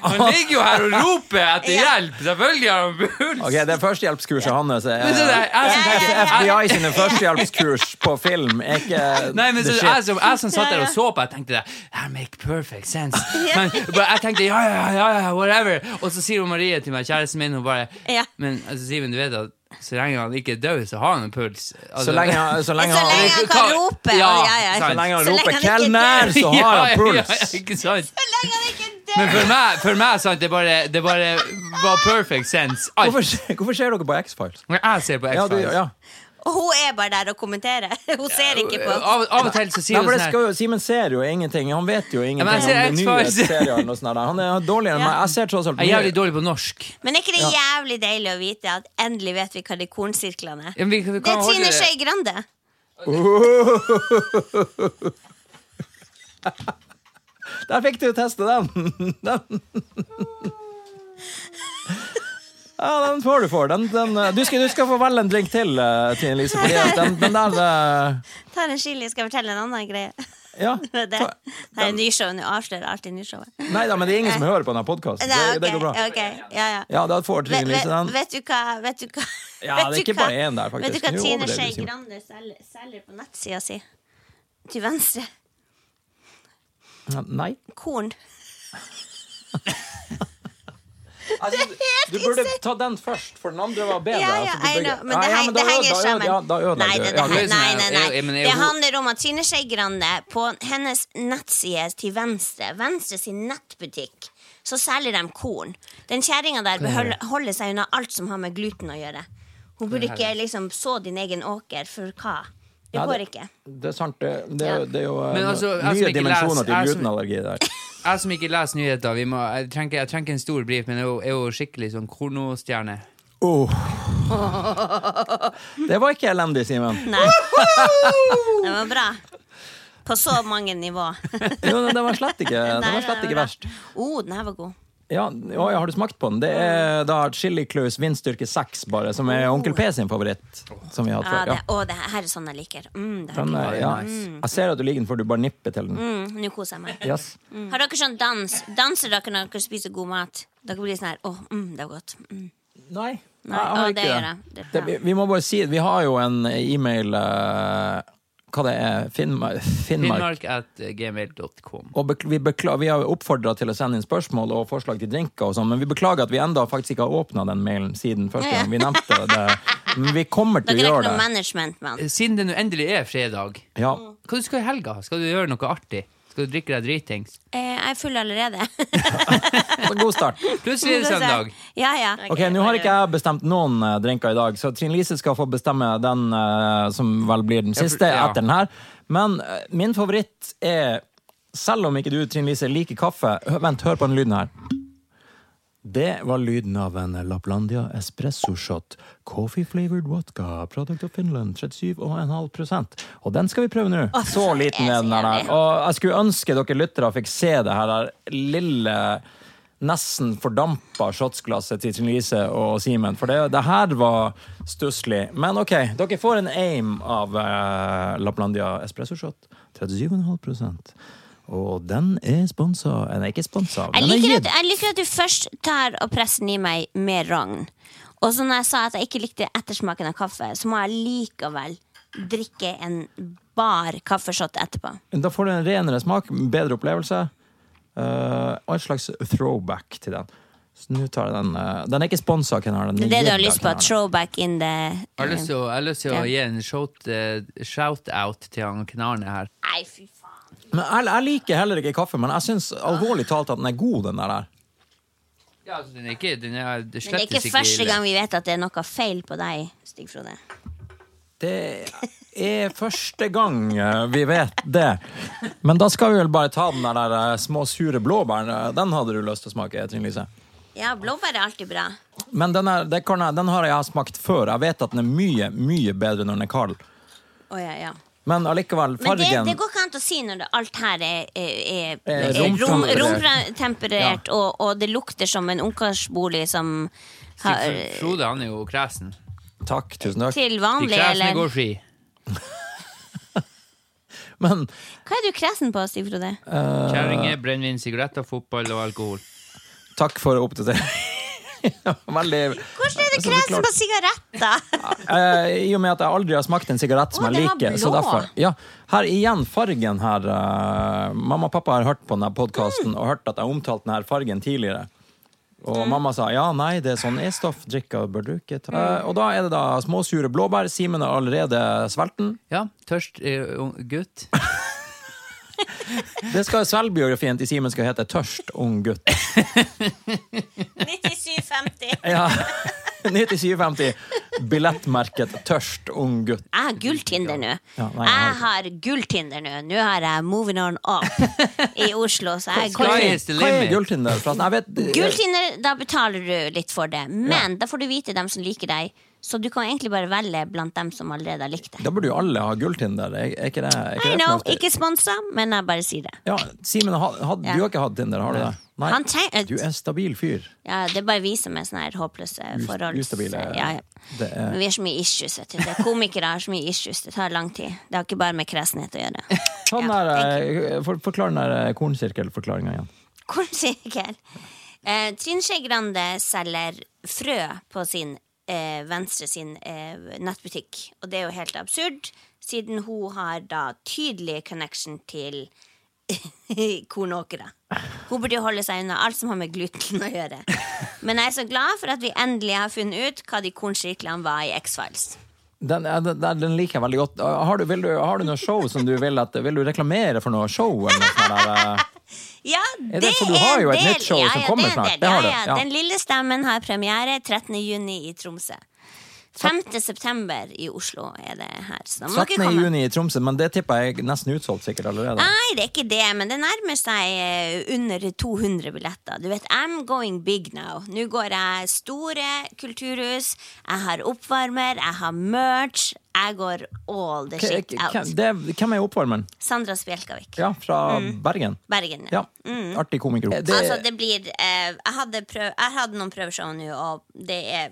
Speaker 1: Han ligger jo her og roper etter hjelp! Selvfølgelig har han puls!
Speaker 2: Ok, det førstehjelpskurset hans er
Speaker 1: Men så det er jeg som tenker-
Speaker 2: Eh, FBI sine førstehjelpskurs på film er ikke
Speaker 1: Nei, men så,
Speaker 2: the
Speaker 1: jeg,
Speaker 2: shit.
Speaker 1: som, jeg som satt der og så på, jeg tenkte det. That make perfect
Speaker 3: [laughs]
Speaker 1: sense. Men, but jeg tenkte ja, ja, ja, ja, whatever. Og så sier hun Marie til meg, kjæresten min, hun bare
Speaker 3: Ja.
Speaker 1: Men altså, Simen, du vet at så lenge han ikke er død, så har han en puls. Altså,
Speaker 2: Så lenge,
Speaker 1: [laughs]
Speaker 2: han- så lenge
Speaker 3: Så lenge
Speaker 2: han,
Speaker 3: han kan rope!
Speaker 1: Ja,
Speaker 3: og ja, ja.
Speaker 1: sant.
Speaker 2: så lenge han
Speaker 3: Så lenge
Speaker 2: roper
Speaker 3: han ikke
Speaker 2: 'kelner', så har han
Speaker 1: Ja, ja,
Speaker 2: puls.
Speaker 1: ja, ikke sant?
Speaker 3: Så lenge han ikke dør!
Speaker 1: Men for meg, for meg sant, det bare, det bare var perfect sense. Alt.
Speaker 2: Hvorfor, hvorfor ser dere på X-Files?
Speaker 1: Når jeg ser på
Speaker 2: Ja, du,
Speaker 1: X-Files
Speaker 2: ja.
Speaker 3: Og hun er bare der og kommenterer. [laughs] Hun ser ikke på.
Speaker 1: av, av og til så sier
Speaker 2: Nei,
Speaker 1: hun
Speaker 2: for det
Speaker 1: sånn her
Speaker 2: skal jo, Simen ser jo ingenting. Han vet jo ingenting
Speaker 1: men jeg ser
Speaker 2: om det nye
Speaker 1: X-Files.
Speaker 2: serien. og sånn der. Han er dårligere enn meg. Jeg ser tross alt
Speaker 1: Jeg er jævlig
Speaker 2: mye.
Speaker 1: dårlig på norsk.
Speaker 3: Men er ikke det jævlig deilig å vite at endelig vet vi hva de kornsirklene
Speaker 1: Ja,
Speaker 3: er?
Speaker 1: men vi- vi
Speaker 3: Det
Speaker 1: kan
Speaker 3: er
Speaker 1: holde
Speaker 3: Trine Skei Grande.
Speaker 2: [laughs] Der fikk du teste den! [laughs] den. Ja, den får du for. Den, den, eh, du, skal, du skal få velge en drink til, eh, Trine Lise. Fordi at den, den der eh,
Speaker 3: Tar en chili, skal jeg fortelle en annen greie. [laughs]
Speaker 2: Ja.
Speaker 3: Det, det er nyshow, nå avslører jeg alltid nyshowet.
Speaker 2: Nei da, men det er ingen som hører på denne podkasten.
Speaker 3: Nei,
Speaker 2: Det,
Speaker 3: ok,
Speaker 2: det går bra.
Speaker 3: ok, ja, ja.
Speaker 2: Ja, da får
Speaker 3: Vet,
Speaker 2: Trine Lise
Speaker 3: vet,
Speaker 2: den.
Speaker 3: vet du hva Vet du hva,
Speaker 2: [laughs] Ja, det
Speaker 3: vet
Speaker 2: er
Speaker 3: du
Speaker 2: ikke
Speaker 3: hva-
Speaker 2: bare én der,
Speaker 3: Vet du
Speaker 2: faktisk.
Speaker 3: hva
Speaker 2: Nå
Speaker 3: Trine
Speaker 2: overdrev du,
Speaker 3: Skei
Speaker 2: Simen.
Speaker 3: Grande selger, selger på nettsida si? Til venstre.
Speaker 2: Nei.
Speaker 3: Korn.
Speaker 2: Altså, du burde ta den først, for den andre var bedre.
Speaker 3: Ja, ja,
Speaker 2: altså, du
Speaker 3: I
Speaker 2: bygger-
Speaker 3: know, men
Speaker 2: Ja,
Speaker 3: det,
Speaker 2: ja,
Speaker 3: heng,
Speaker 2: da
Speaker 3: det henger
Speaker 2: ødela-
Speaker 3: sammen.
Speaker 2: Ja, da ødelegger
Speaker 3: nei,
Speaker 2: du.
Speaker 3: det,
Speaker 2: Ja,
Speaker 1: det
Speaker 3: nei,
Speaker 1: er
Speaker 3: nei,
Speaker 1: sånn her,
Speaker 3: nei,
Speaker 1: jeg- jeg mener,
Speaker 3: nei.
Speaker 1: jeg-
Speaker 3: Det handler om at Trine Skei Grande på hennes nettside til venstre, Venstre sin nettbutikk, så selger de korn. Den kjerringa der bør holde- holde seg unna alt som har med gluten å gjøre. Hun burde ikke liksom så din egen åker, for hva? Det
Speaker 2: Nei,
Speaker 3: går
Speaker 2: det-
Speaker 3: ikke.
Speaker 2: Det er sant, det, det, er jo- det er jo
Speaker 1: Men
Speaker 2: eh,
Speaker 1: altså, jeg som
Speaker 2: nye
Speaker 1: ikke
Speaker 2: dimensjoner
Speaker 1: leser-
Speaker 2: til
Speaker 1: jeg som- [laughs]
Speaker 2: glutenallergi der.
Speaker 1: Jeg som ikke leser nyheter, vi må, jeg, trenger, ikke- jeg trenger ikke en stor brief, men jeg er jo, jeg er jo skikkelig sånn kornostjerne. Oh.
Speaker 2: Åh. [laughs] Det var ikke elendig, Simen.
Speaker 3: Nei. [laughs] Det var bra. På så mange nivå.
Speaker 2: Jo, det var slett ikke, det
Speaker 3: Nei,
Speaker 2: var slett
Speaker 3: det
Speaker 2: ikke
Speaker 3: var
Speaker 2: verst.
Speaker 3: bra. Oh, den her var god.
Speaker 2: Ja, å, ja, har du smakt på den? Det er
Speaker 3: Mm.
Speaker 2: da Chili Clous vindstyrke 6, bare, som er Onkel P sin favoritt. Som vi har hatt
Speaker 3: Oh. Ja,
Speaker 2: før.
Speaker 3: det,
Speaker 2: Ja.
Speaker 3: å, det her er sånn jeg liker. Mm, det her
Speaker 2: Den
Speaker 3: liker
Speaker 2: er,
Speaker 3: jeg.
Speaker 2: ja. Jeg ser at du liker den, for du bare nipper til den.
Speaker 3: Mm, Nå koser jeg meg.
Speaker 2: Yes.
Speaker 3: Mm. Har dere sånn dans? Danser dere når dere spiser god mat? Dere blir sånn her Å, mm, det var godt. Mm.
Speaker 2: Nei,
Speaker 3: Nei,
Speaker 2: jeg
Speaker 3: å,
Speaker 2: har
Speaker 3: det
Speaker 2: ikke
Speaker 3: gjør
Speaker 2: det.
Speaker 3: jeg. Det er
Speaker 2: det,
Speaker 3: bra.
Speaker 2: vi, vi må bare si at vi har jo en e-mail eh, Hva det er Finnmark? Finnmark.
Speaker 1: Finnmark at eh, gmail.com.
Speaker 2: Og bekl vi, bekla vi har oppfordra til å sende inn spørsmål og forslag til drinker, og sånn, men vi beklager at vi enda faktisk ikke har åpna den mailen siden første gang vi nevnte det. Men vi kommer til
Speaker 3: Dere
Speaker 2: å
Speaker 3: er ikke
Speaker 2: gjøre
Speaker 3: noe
Speaker 2: det.
Speaker 3: management, mann.
Speaker 1: Siden det nå endelig er fredag,
Speaker 2: Ja.
Speaker 1: hva du skal i helga? Skal du gjøre noe artig? Skal du drikke deg dritings?
Speaker 3: Eh, jeg er full
Speaker 2: [laughs]
Speaker 3: allerede.
Speaker 2: Så god start.
Speaker 1: Plutselig er det
Speaker 3: [laughs]
Speaker 1: søndag.
Speaker 3: Ja, ja.
Speaker 2: sånn Ok, Nå har ikke jeg bestemt noen eh, drinker i dag, så Trine Lise skal få bestemme den eh, som vel blir den
Speaker 1: for-
Speaker 2: siste
Speaker 1: ja.
Speaker 2: etter den her. Men eh, min favoritt er Selv om ikke du, Trine Lise, liker kaffe hø- Vent, hør på den lyden her. Det var lyden av en Laplandia espresso shot. Coffee flavored vodka. Product of Finland. 37,5 Og den skal vi prøve nå. Så liten er den her.
Speaker 3: jeg er så
Speaker 2: der. Og jeg skulle ønske dere lyttere fikk se det her der lille Nesten fordampa shotsglasset til Trine Lise og Simen. For det, det her var stusslig. Men OK, dere får en aim av eh, Laplandia espresso shot. 37,5 Og den er sponsa Nei, ikke sponsa.
Speaker 3: Jeg
Speaker 2: den er
Speaker 3: liker,
Speaker 2: gitt.
Speaker 3: at, jeg liker at du først tar og presser den i meg med rogn. Og så når jeg sa at jeg ikke likte ettersmaken av kaffe, så må jeg likevel drikke en bar kaffeshot etterpå.
Speaker 2: Da får du en renere smak, bedre opplevelse. eh, og et slags throwback til den. Så nå tar jeg den eh, Den er ikke sponsa, Kenar.
Speaker 3: Det er det du har lyst på. Throwback in the
Speaker 1: Jeg har lyst til å, jeg har lyst til å
Speaker 3: Ja.
Speaker 1: gi en shout- eh, shout-out til han Knarne her.
Speaker 3: Nei, fy faen.
Speaker 2: Men jeg, jeg liker heller ikke kaffe, men jeg syns alvorlig talt at den er god, den der der.
Speaker 1: Ja, altså, den er ikke, den er, det
Speaker 3: Men det er
Speaker 1: slettes
Speaker 3: ikke første
Speaker 1: ille.
Speaker 3: gang vi vet at det er noe feil på deg, Stig Frode.
Speaker 2: Det er første gang eh, vi vet det. Men da skal vi vel bare ta den der, der eh, små sure blæbæren. eh, Den hadde du lyst til å smake, Trine Lise.
Speaker 3: Ja, blåbær er alltid bra.
Speaker 2: Men den, er, det kan jeg, den har jeg smakt før. Jeg vet at den er mye, mye bedre når den er kald.
Speaker 3: Å, ja, ja.
Speaker 2: Men allikevel,
Speaker 3: Men det,
Speaker 2: fargen
Speaker 3: det går ikke an å si når det, alt her er, er,
Speaker 2: Eh,
Speaker 3: er, er rom-
Speaker 2: romtemperert.
Speaker 3: romtemperert, og, og det lukter som en ungkarsbolig som har,
Speaker 1: Stig Frode han er jo kresen.
Speaker 2: Takk, tusen takk.
Speaker 3: til
Speaker 1: De
Speaker 3: vanlig,
Speaker 1: kresne
Speaker 3: eller
Speaker 1: går ski.
Speaker 2: Men
Speaker 3: Hva er du kresen på, Stig Frode?
Speaker 2: Eh,
Speaker 1: Kjerringer, brennevin, sigaretter, fotball og alkohol.
Speaker 2: takk for å oppdatere. [laughs] Veldig
Speaker 3: Hvordan er
Speaker 2: Altså,
Speaker 3: du
Speaker 2: det er
Speaker 3: kresen
Speaker 2: klart-
Speaker 3: på
Speaker 2: [laughs]
Speaker 3: sigaretter?
Speaker 2: Eh, I og med at jeg aldri har smakt en sigarett som
Speaker 3: Å,
Speaker 2: jeg
Speaker 3: den var
Speaker 2: liker. Så
Speaker 3: blå.
Speaker 2: derfor, ja, her igjen, fargen her eh, Mamma og pappa har hørt på denne podkasten og hørt at jeg omtalte denne fargen tidligere. Og
Speaker 3: Mm.
Speaker 2: mamma sa ja, nei, det er sånn E-stoff, drikker bør du ikke ta. Eh,
Speaker 3: Mm.
Speaker 2: og da er det da småsure blåbær. Simen er allerede svelten.
Speaker 1: Ja, tørst eh, ung gutt.
Speaker 2: Det skal Selvbiografien til Simen skal hete 'Tørst ung gutt'.
Speaker 3: 97,50.
Speaker 2: Ja. [laughs] 97,50. Billettmerket 'Tørst ung gutt'.
Speaker 3: Jeg har gulltinder nå.
Speaker 2: Ja, nei, jeg har
Speaker 3: jeg har gulltinder nå. Nå har jeg Moving On
Speaker 2: [laughs]
Speaker 3: Up i Oslo, så jeg er
Speaker 1: Hva
Speaker 2: Hva
Speaker 1: er-
Speaker 2: er,
Speaker 1: Sky is the
Speaker 3: gulltinder.
Speaker 2: hva er
Speaker 1: limit.
Speaker 2: gulltinder? forresten? Jeg vet,
Speaker 3: Gulltinder, da betaler du litt for det. Men da får du vite dem som liker deg, så du kan egentlig bare velge blant dem som allerede har likt deg.
Speaker 2: Da burde jo alle ha gulltinder. Er, er ikke det, er ikke
Speaker 3: I
Speaker 2: det
Speaker 3: know,
Speaker 2: fornuftig?
Speaker 3: ikke sponsa, men jeg bare sier det.
Speaker 2: Ja, Simen, ha, ha, du har ikke hatt Tinder, har du det? Nei.
Speaker 3: Han trenger-
Speaker 2: Du er en stabil fyr.
Speaker 3: Ja, det er bare vi som er sånne her håpløse
Speaker 2: Ust-
Speaker 3: forhold.
Speaker 2: Ustabile.
Speaker 3: Ja, ja.
Speaker 2: Det er,
Speaker 3: Men vi har så mye issues. Vet du. Det er komikere har så mye issues. Det tar lang tid. Det har ikke bare med kresenhet å gjøre.
Speaker 2: ta den der, eh, for, forklar den der eh, kornsirkelforklaringa igjen.
Speaker 3: Kornsirkel. Eh, Trine Skei Grande selger frø på sin eh, venstre sin eh, nettbutikk. Og det er jo helt absurd, siden hun har da tydelig connection til [laughs] kornåkere. Hun burde jo holde seg unna alt som har med gluten å gjøre. Men jeg er så glad for at vi endelig har funnet ut hva de kornsirklene var i X-Files.
Speaker 2: Den, eh, den, den- den liker jeg veldig godt. Ah, Har du, vil du, har du noe show som du vil at Vil du reklamere for noe show? Eller noe sånt der, eh?
Speaker 3: Ja,
Speaker 2: Er
Speaker 3: det,
Speaker 2: det- for du har jo et nytt show som kommer
Speaker 3: det er en
Speaker 2: snart.
Speaker 3: del.
Speaker 2: Det har
Speaker 3: Ja,
Speaker 2: du,
Speaker 3: ja.
Speaker 2: ja.
Speaker 3: Den lille stemmen har premiere 13. juni i Tromsø. 5. september i Oslo er det her. Så da må dere
Speaker 2: 17.
Speaker 3: komme. Ah,
Speaker 2: juni i Tromsø, men det tipper jeg er nesten utsolgt sikkert allerede.
Speaker 3: Nei, det er ikke det, men det nærmer seg eh, under 200 billetter. Du vet, I'm going big now. Nå går jeg store kulturhus, jeg har oppvarmer, jeg har merch. Jeg går all the
Speaker 2: K- eh,
Speaker 3: shit
Speaker 2: k-
Speaker 3: out.
Speaker 2: hvem- det- Hvem er oppvarmeren?
Speaker 3: Sandra Spjelkavik.
Speaker 2: Ja, fra Bergen.
Speaker 3: Bergen.
Speaker 2: Ja, Artig komiker. Det,
Speaker 3: Mm. Altså, det blir eh, jeg, hadde prøv, jeg hadde noen prøveshow nå, og det er,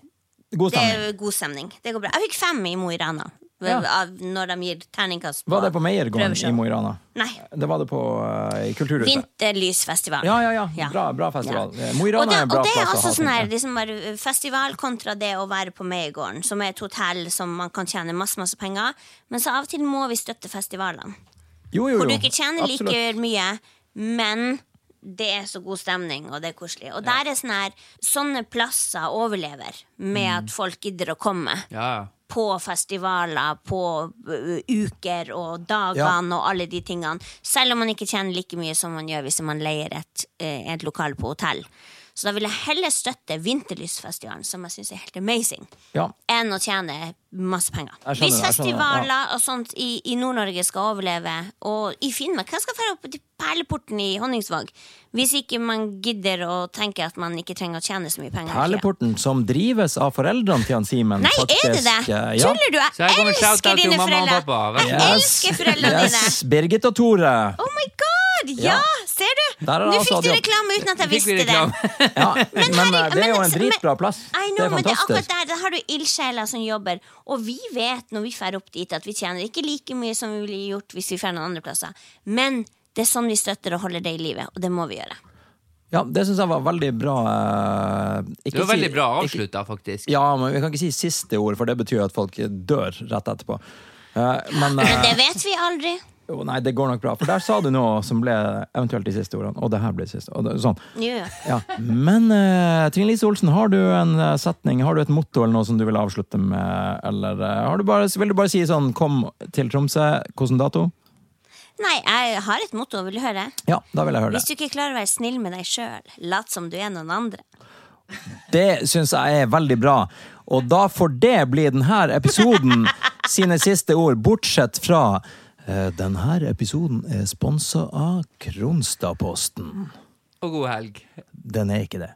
Speaker 2: god
Speaker 3: det
Speaker 2: stemning.
Speaker 3: er god stemning. Det går bra. Jeg fikk fem i Mo i Rana
Speaker 2: Ja.
Speaker 3: av- når de gir terningkast
Speaker 2: Var det på Meiergården
Speaker 3: prøveshow.
Speaker 2: i Mo i Rana?
Speaker 3: Nei.
Speaker 2: Det var det på eh, i Kulturhuset.
Speaker 3: Vinterlysfestivalen.
Speaker 2: Ja, ja, ja. Bra, bra festival.
Speaker 3: Ja.
Speaker 2: Eh, Mo i Rana
Speaker 3: Og det-
Speaker 2: er en bra
Speaker 3: Og det er
Speaker 2: plass å ha
Speaker 3: også sånn her,
Speaker 2: ting,
Speaker 3: liksom bare festival kontra det å være på Meiergården, som er et hotell som man kan tjene masse, masse penger. Men så av og til må vi støtte festivalene.
Speaker 2: Jo, jo, jo.
Speaker 3: Hvor du ikke tjener
Speaker 2: Absolutt.
Speaker 3: like mye, men det er så god stemning, og det er koselig. Og der er sånn her, sånne plasser overlever med
Speaker 2: Mm.
Speaker 3: at folk gidder å komme.
Speaker 1: Ja, ja.
Speaker 3: På festivaler, på ø, uker og dagene og alle de tingene. Selv om man ikke tjener like mye som man gjør hvis man leier et, eh, et lokal på hotell. Så da vil jeg heller støtte Vinterlysfestivalen, som jeg syns er helt amazing,
Speaker 2: Ja.
Speaker 3: enn å tjene masse penger.
Speaker 2: Jeg skjønner
Speaker 3: Hvis
Speaker 2: det, jeg skjønner det,
Speaker 3: festivaler og sånt i, i Nord-Norge skal overleve, og i Finnmark Hvem skal dra opp til Perleporten i Honningsvåg hvis ikke man gidder å tenke at man ikke trenger å tjene så mye penger? hele tiden?
Speaker 2: Perleporten, som drives av foreldrene til han Simen.
Speaker 3: Nei,
Speaker 2: faktisk,
Speaker 3: er det det?
Speaker 2: eh, Ja.
Speaker 3: Tuller du?
Speaker 1: Så her
Speaker 3: Jeg
Speaker 1: kommer
Speaker 3: elsker
Speaker 1: shout-out til
Speaker 3: dine
Speaker 1: mamma og
Speaker 3: foreldre!
Speaker 1: pappa. Vær så
Speaker 3: Jeg
Speaker 1: god.
Speaker 3: elsker foreldrene
Speaker 2: yes,
Speaker 3: dine!
Speaker 2: Birgit og Tore.
Speaker 3: Oh my god! Ja,
Speaker 2: Ja.
Speaker 3: ser du?
Speaker 2: Der er
Speaker 3: Nå
Speaker 2: altså
Speaker 3: fikk du
Speaker 2: jobb.
Speaker 3: reklame uten at
Speaker 1: Fikk
Speaker 3: jeg
Speaker 1: vi
Speaker 3: visste det.
Speaker 1: reklame?
Speaker 2: Ja,
Speaker 1: [laughs]
Speaker 2: men
Speaker 3: herregud,
Speaker 2: eh, det er jo
Speaker 3: men-
Speaker 2: en dritbra
Speaker 3: men-
Speaker 2: plass.
Speaker 3: I
Speaker 2: det
Speaker 3: know,
Speaker 2: er
Speaker 3: men det er akkurat
Speaker 2: fantastisk.
Speaker 3: der, der har du ildsjeler som jobber. Og vi vet når vi drar opp dit, at vi tjener ikke like mye som vi ville gjort hvis vi drar noen andre plasser. Men det er sånn vi støtter og holder det i livet, og det må vi gjøre.
Speaker 2: Ja, det syns jeg var veldig bra. eh, ikke
Speaker 1: Det var
Speaker 2: si-
Speaker 1: veldig bra
Speaker 2: ikke-
Speaker 1: avslutta, faktisk.
Speaker 2: Ja, men vi kan ikke si siste ord, for det betyr jo at folk dør rett etterpå. Eh, Men, eh,
Speaker 3: [laughs] Men det vet vi aldri.
Speaker 2: jo, nei, det går nok bra. For der sa du noe som ble eventuelt de siste ordene. Og det her ble det siste. Og det, sånn.
Speaker 3: Jo, jo.
Speaker 2: Ja. Men eh, Trine Lise Olsen, har du en eh, setning, har du et motto eller noe som du vil avslutte med? Eller eh, har du bare, vil du bare si sånn 'kom til Tromsø', hvilken dato?
Speaker 3: Nei, jeg har et motto, vil du høre?
Speaker 2: Ja, da vil jeg høre
Speaker 3: Hvis
Speaker 2: det.
Speaker 3: du ikke klarer å være snill med deg sjøl, lat som du er noen andre.
Speaker 2: Det syns jeg er veldig bra. Og da får det bli denne episoden sine siste ord, bortsett fra eh, denne episoden er sponsa av Kronstadposten.
Speaker 1: Og god helg.
Speaker 2: Den er ikke det.